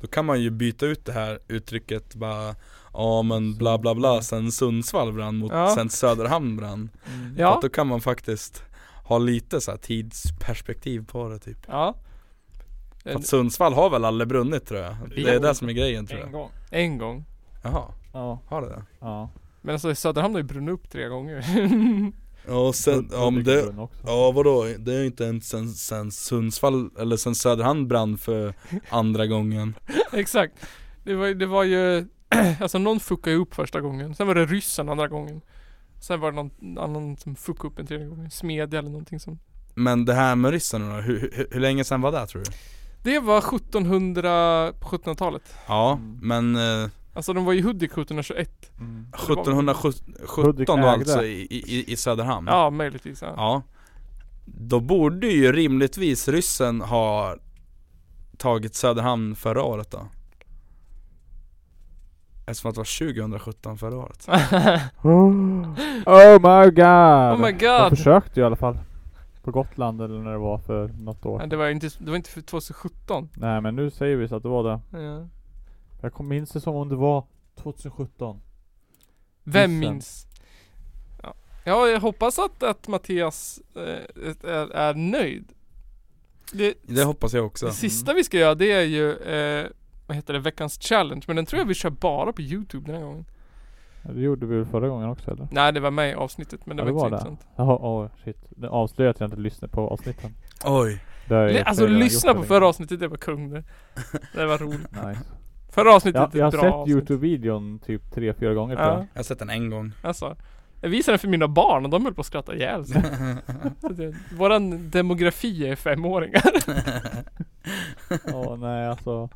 [SPEAKER 3] Då kan man ju byta ut det här uttrycket bara Ja men bla bla bla sen Sundsvall brann mot
[SPEAKER 2] Ja.
[SPEAKER 3] sen Söderhamn brann
[SPEAKER 1] Mm.
[SPEAKER 3] För
[SPEAKER 2] Ja,
[SPEAKER 3] att Då kan man faktiskt ha lite så här tidsperspektiv på det typ
[SPEAKER 2] ja.
[SPEAKER 3] För att Sundsvall har väl aldrig brunnit tror jag Det är det som är grejen tror jag
[SPEAKER 1] gång.
[SPEAKER 2] En gång.
[SPEAKER 3] Jaha,
[SPEAKER 1] Ja,
[SPEAKER 3] har det det?
[SPEAKER 1] ja.
[SPEAKER 2] Men alltså Söderhamn har ju brunnit upp tre gånger.
[SPEAKER 3] Ja sen, ja men det
[SPEAKER 1] Brunn också.
[SPEAKER 3] Ja vadå, det är ju inte ens sen, sen Sundsvall, eller sen Söderhamn brann för andra gången
[SPEAKER 2] Exakt. Det var, det var ju, alltså någon fuckade ju upp första gången. Sen var det ryssen andra gången. Sen var det någon annan som fuckade upp en tredje gång. Smedja eller någonting som.
[SPEAKER 3] Men det här med ryssarna då, hur, hur, hur länge sen var det tror du?
[SPEAKER 2] Det var 1700, på 1700-talet.
[SPEAKER 3] Ja,
[SPEAKER 1] Mm.
[SPEAKER 3] men eh,
[SPEAKER 2] Alltså de var i Hudik 1721.
[SPEAKER 1] Mm.
[SPEAKER 3] 1717
[SPEAKER 1] Hudik
[SPEAKER 3] då
[SPEAKER 1] ägde.
[SPEAKER 3] alltså i, i, i Söderhamn?
[SPEAKER 2] Ja, möjligtvis. Ja.
[SPEAKER 3] Ja. Då borde ju rimligtvis ryssen ha tagit Söderhamn förra året då? Eftersom att det var 2017 förra året
[SPEAKER 1] Oh my god!
[SPEAKER 2] oh my
[SPEAKER 1] De
[SPEAKER 2] god!
[SPEAKER 1] försökte ju i alla fall. På Gotland eller när det var för något år.
[SPEAKER 2] Ja, det, var ju inte, det var inte för 2017.
[SPEAKER 1] Nej men nu säger vi så att det var det.
[SPEAKER 2] Ja.
[SPEAKER 1] Jag kom- minns det som om det var 2017.
[SPEAKER 2] Vem
[SPEAKER 1] Missen.
[SPEAKER 2] minns? Ja. ja, jag hoppas att, att Mattias eh, är, är nöjd. Det,
[SPEAKER 3] Det hoppas jag också
[SPEAKER 1] Mm.
[SPEAKER 2] det sista vi ska göra det är ju, eh, vad heter det, veckans challenge. Men den tror jag vi kör bara på youtube den här gången.
[SPEAKER 1] Ja, Det gjorde vi väl förra gången också eller?
[SPEAKER 2] Nej, det var med i avsnittet men det
[SPEAKER 1] Ja, det
[SPEAKER 2] var
[SPEAKER 1] var
[SPEAKER 2] inte
[SPEAKER 1] det.
[SPEAKER 2] så intressant.
[SPEAKER 1] Jaha, oh, shit. Det avslöjar att jag inte lyssnar på avsnitten.
[SPEAKER 3] Oj,
[SPEAKER 1] Det har jag
[SPEAKER 2] Nej,
[SPEAKER 1] gjort
[SPEAKER 2] Alltså
[SPEAKER 1] redan
[SPEAKER 2] lyssna
[SPEAKER 1] gjort
[SPEAKER 2] på
[SPEAKER 1] det
[SPEAKER 2] förra
[SPEAKER 1] länge.
[SPEAKER 2] avsnittet, det var kung det. Det var roligt.
[SPEAKER 1] Nice.
[SPEAKER 2] Förra avsnittet
[SPEAKER 1] Jag,
[SPEAKER 2] är
[SPEAKER 1] jag har
[SPEAKER 2] ett bra
[SPEAKER 1] sett
[SPEAKER 2] avsnitt.
[SPEAKER 1] Youtube-videon typ tre fyra gånger tror
[SPEAKER 2] Ja,
[SPEAKER 1] jag.
[SPEAKER 3] jag har sett den en gång
[SPEAKER 2] alltså. Jag visade den för mina barn och de höll på att skratta ihjäl sig. Så det- Våran demografi är femåringar.
[SPEAKER 1] Ja, nej alltså.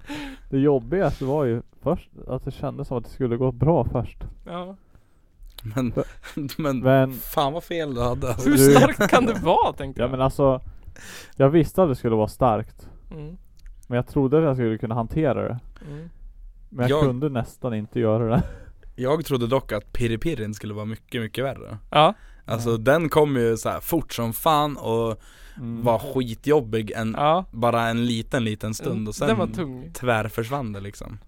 [SPEAKER 1] Det jobbigaste var ju först att det kändes som att det skulle gå bra först.
[SPEAKER 2] Ja.
[SPEAKER 3] Men, men
[SPEAKER 1] Men,
[SPEAKER 3] fan vad fel du hade alltså.
[SPEAKER 2] Hur
[SPEAKER 1] Du-
[SPEAKER 2] starkt kan det vara tänkte
[SPEAKER 1] ja
[SPEAKER 2] jag.
[SPEAKER 1] men alltså. Jag visste att det skulle vara starkt.
[SPEAKER 2] Mm,
[SPEAKER 1] Men jag trodde att jag skulle kunna hantera det.
[SPEAKER 2] mm.
[SPEAKER 1] Men jag,
[SPEAKER 3] Jag-
[SPEAKER 1] kunde nästan inte göra det.
[SPEAKER 3] Jag trodde dock att pirripirren skulle vara mycket, mycket värre
[SPEAKER 2] Ja.
[SPEAKER 3] Alltså
[SPEAKER 1] Ja.
[SPEAKER 3] den kom ju så här fort som fan och
[SPEAKER 1] Mm.
[SPEAKER 3] var skitjobbig en,
[SPEAKER 2] ja.
[SPEAKER 3] bara en liten, liten stund och sen
[SPEAKER 2] Den Mm. var tung.
[SPEAKER 3] tvärförsvann det liksom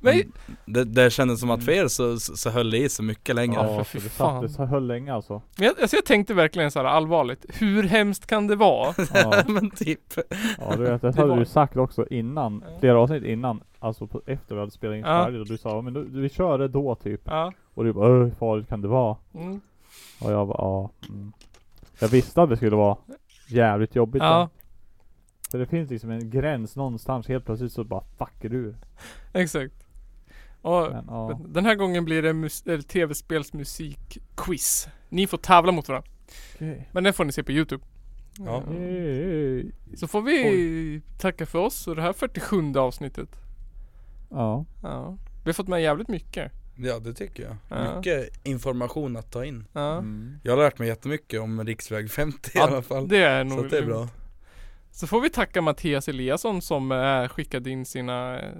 [SPEAKER 2] Men,
[SPEAKER 3] det, det kändes som att för er så, så, så höll det i så mycket längre
[SPEAKER 2] Ja,
[SPEAKER 1] Ja,
[SPEAKER 2] för
[SPEAKER 1] för
[SPEAKER 2] fy
[SPEAKER 1] det
[SPEAKER 2] fan.
[SPEAKER 1] satt, det så- höll länge alltså.
[SPEAKER 2] men jag, alltså jag tänkte verkligen så här allvarligt. Hur hemskt kan det vara?
[SPEAKER 1] Ja,
[SPEAKER 3] Men typ
[SPEAKER 1] ja du vet, det
[SPEAKER 2] Det
[SPEAKER 1] hade
[SPEAKER 2] var-
[SPEAKER 1] du sagt också innan,
[SPEAKER 2] Ja.
[SPEAKER 1] flera avsnitt innan, alltså på, efter vi hade spelat in
[SPEAKER 2] Ja.
[SPEAKER 1] färdigt och du sa "Ja, men du, vi kör det då typ.
[SPEAKER 2] Ja.
[SPEAKER 1] Och du bara "Öh, hur farligt kan det vara?
[SPEAKER 2] Mm.
[SPEAKER 1] Och jag bara ja. Mm. Jag visste att det skulle vara jävligt jobbigt.
[SPEAKER 2] Ja.
[SPEAKER 1] För det finns liksom en gräns någonstans helt plötsligt så bara fuckar du.
[SPEAKER 2] Exakt. Och
[SPEAKER 1] Men, ja.
[SPEAKER 2] den här gången blir det mus- eller tv-spelsmusikquiz. Ni får tävla mot varandra. Men det får ni se på Youtube.
[SPEAKER 3] Ja.
[SPEAKER 1] Yay.
[SPEAKER 2] Så får vi tacka för oss och det här 47 avsnittet.
[SPEAKER 1] Ja.
[SPEAKER 2] Ja. Vi har fått med jävligt mycket.
[SPEAKER 3] Ja det tycker jag,
[SPEAKER 2] Ja.
[SPEAKER 3] mycket information att ta in
[SPEAKER 2] Ja.
[SPEAKER 1] Mm.
[SPEAKER 3] Jag har lärt mig jättemycket om riksväg 50 i alla fall
[SPEAKER 2] Det är
[SPEAKER 3] Så
[SPEAKER 2] nog
[SPEAKER 3] att det är
[SPEAKER 2] lugnt.
[SPEAKER 3] bra
[SPEAKER 2] Så får vi tacka Mattias Eliasson som eh, skickade in sina eh,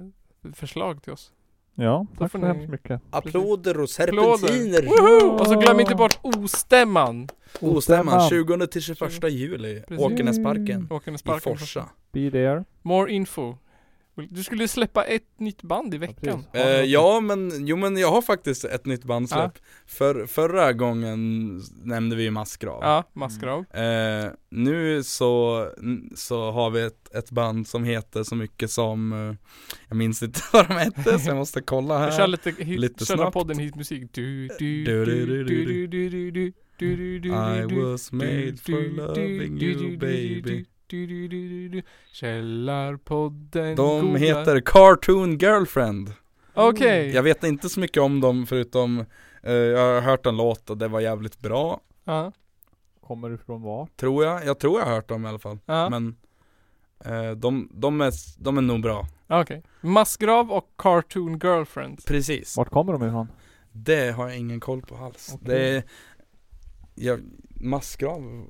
[SPEAKER 2] förslag till oss.
[SPEAKER 1] Ja, tack
[SPEAKER 2] får
[SPEAKER 1] så
[SPEAKER 2] ni-
[SPEAKER 1] hemskt mycket.
[SPEAKER 3] Applåder och
[SPEAKER 2] Applåder!
[SPEAKER 3] serpentiner!
[SPEAKER 2] Woho! Och så glöm inte bort ostämman!
[SPEAKER 3] Ostämman 20 till 21 juli,
[SPEAKER 2] Precis.
[SPEAKER 3] Åkenäsparken
[SPEAKER 2] Åkande
[SPEAKER 3] i
[SPEAKER 2] sparken.
[SPEAKER 3] Forsa
[SPEAKER 1] Be there.
[SPEAKER 2] More info. Du skulle släppa ett nytt band i veckan.
[SPEAKER 1] precis.
[SPEAKER 3] Eh, ja men, jo men jag har faktiskt ett nytt bandsläpp För, Förra gången nämnde vi ju Massgrav
[SPEAKER 2] Ja, Massgrav.
[SPEAKER 3] eh, Nu så, n- så har vi ett, ett band som heter så mycket som eh, Jag minns inte vad de hette så jag måste kolla
[SPEAKER 2] Jag kör
[SPEAKER 3] här
[SPEAKER 2] lite, hit,
[SPEAKER 3] lite
[SPEAKER 2] kör
[SPEAKER 3] snabbt.
[SPEAKER 2] podden hit musik. Du, du, du,
[SPEAKER 3] Du,
[SPEAKER 2] du,
[SPEAKER 3] du, du,
[SPEAKER 2] du,
[SPEAKER 3] du,
[SPEAKER 2] du, du, du, du, du,
[SPEAKER 3] I
[SPEAKER 2] du,
[SPEAKER 3] was made for loving you baby
[SPEAKER 2] du, du, du, du. Källarpodden
[SPEAKER 3] De
[SPEAKER 2] googlar.
[SPEAKER 3] heter Cartoon Girlfriend
[SPEAKER 2] Okej.
[SPEAKER 3] Jag vet inte så mycket om dem förutom eh, Jag har hört en låt och det var jävligt bra
[SPEAKER 2] Ja,
[SPEAKER 1] Kommer du från vart?
[SPEAKER 3] Tror jag, jag tror jag har hört dem i alla fall
[SPEAKER 2] ja.
[SPEAKER 3] Men eh, de, de, är, s- de är nog bra
[SPEAKER 2] Okej. Massgrav och Cartoon Girlfriend.
[SPEAKER 3] Precis
[SPEAKER 1] Vart kommer de ifrån?
[SPEAKER 3] Det har jag ingen koll på alls
[SPEAKER 1] Okej.
[SPEAKER 3] Det är jag, Massgrav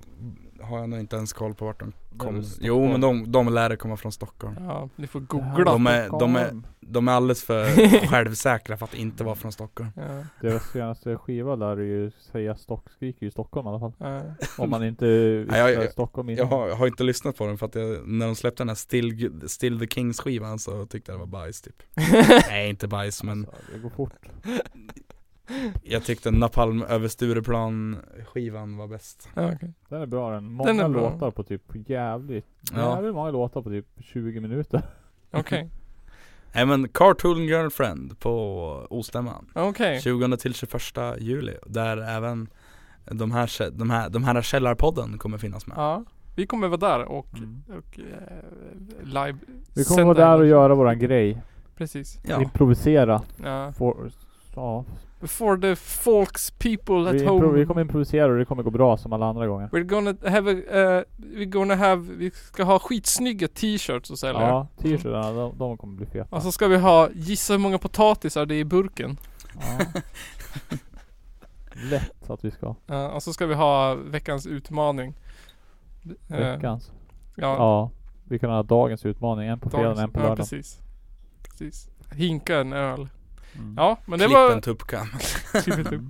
[SPEAKER 3] har jag nog inte ens koll på vart de kommer Jo men de, de lär det komma från Stockholm
[SPEAKER 2] Ja, ni får
[SPEAKER 1] Det här
[SPEAKER 2] googla.
[SPEAKER 3] De är-
[SPEAKER 1] Stockholm.
[SPEAKER 3] de är- De är alldeles för självsäkra för att inte vara från Stockholm
[SPEAKER 2] Ja,
[SPEAKER 1] Deras senaste skiva lär ju säga Stock, skriker ju Stockholm i alla fall.
[SPEAKER 2] ja.
[SPEAKER 1] Om man inte
[SPEAKER 3] Nej, jag-
[SPEAKER 1] visste
[SPEAKER 3] jag-
[SPEAKER 1] Stockholm
[SPEAKER 3] Jag
[SPEAKER 1] innan.
[SPEAKER 3] har, har inte lyssnat på den för att jag, när de släppte den här Still, Still the Kings skivan så tyckte jag det var bajs typ Nej inte bajs men
[SPEAKER 1] Alltså, det går fort.
[SPEAKER 3] jag tyckte Napalm över Stureplan skivan var bäst
[SPEAKER 2] ja okej.
[SPEAKER 1] Den är bra den. Många
[SPEAKER 2] är bra.
[SPEAKER 1] låtar på typ jävligt,
[SPEAKER 3] Ja.
[SPEAKER 1] jävligt många låtar på typ 20 minuter.
[SPEAKER 2] Okej.
[SPEAKER 3] Nej men Cartoon Girlfriend på Ostämman
[SPEAKER 2] Okej.
[SPEAKER 3] 20 till 21 juli där även de här, kä- de här, de här källarpodden kommer finnas med
[SPEAKER 2] Ja. Vi kommer vara där och,
[SPEAKER 1] Mm.
[SPEAKER 2] och eh, live
[SPEAKER 1] Vi kommer vara där och göra våran grej.
[SPEAKER 2] Precis.
[SPEAKER 3] Ja,
[SPEAKER 1] Improvisera.
[SPEAKER 2] Ja.
[SPEAKER 1] For, ja.
[SPEAKER 2] For the folks people at
[SPEAKER 1] vi, impro-
[SPEAKER 2] home.
[SPEAKER 1] vi kommer improvisera och det kommer gå bra som alla andra gånger.
[SPEAKER 2] We're gonna have a, eh, we're gonna have, vi ska ha skitsnygga t-shirts och sälja.
[SPEAKER 1] Ja, t-shirtarna de, de kommer bli feta.
[SPEAKER 2] Och så ska vi ha, gissa hur många potatisar det är i burken.
[SPEAKER 1] Ja. Lätt att vi ska.
[SPEAKER 2] Ja, och så ska vi ha veckans utmaning. Eh,
[SPEAKER 1] Veckans.
[SPEAKER 2] ja,
[SPEAKER 1] Ja. Vi kan ha dagens utmaning, en på fredagen, en på
[SPEAKER 2] ja,
[SPEAKER 1] lördagen.
[SPEAKER 2] precis. precis. Hinka en öl.
[SPEAKER 1] Mm.
[SPEAKER 2] Ja, men det
[SPEAKER 3] Klipp en
[SPEAKER 2] var...
[SPEAKER 3] tuppkam.
[SPEAKER 2] Klipp en tupp.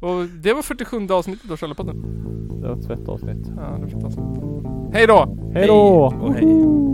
[SPEAKER 2] Och det var 47 avsnittet av Källarpodden.
[SPEAKER 1] Det var ett fett avsnitt.
[SPEAKER 2] Ja, det är fantastiskt. Hej då!
[SPEAKER 1] Hej då!
[SPEAKER 3] Och hej.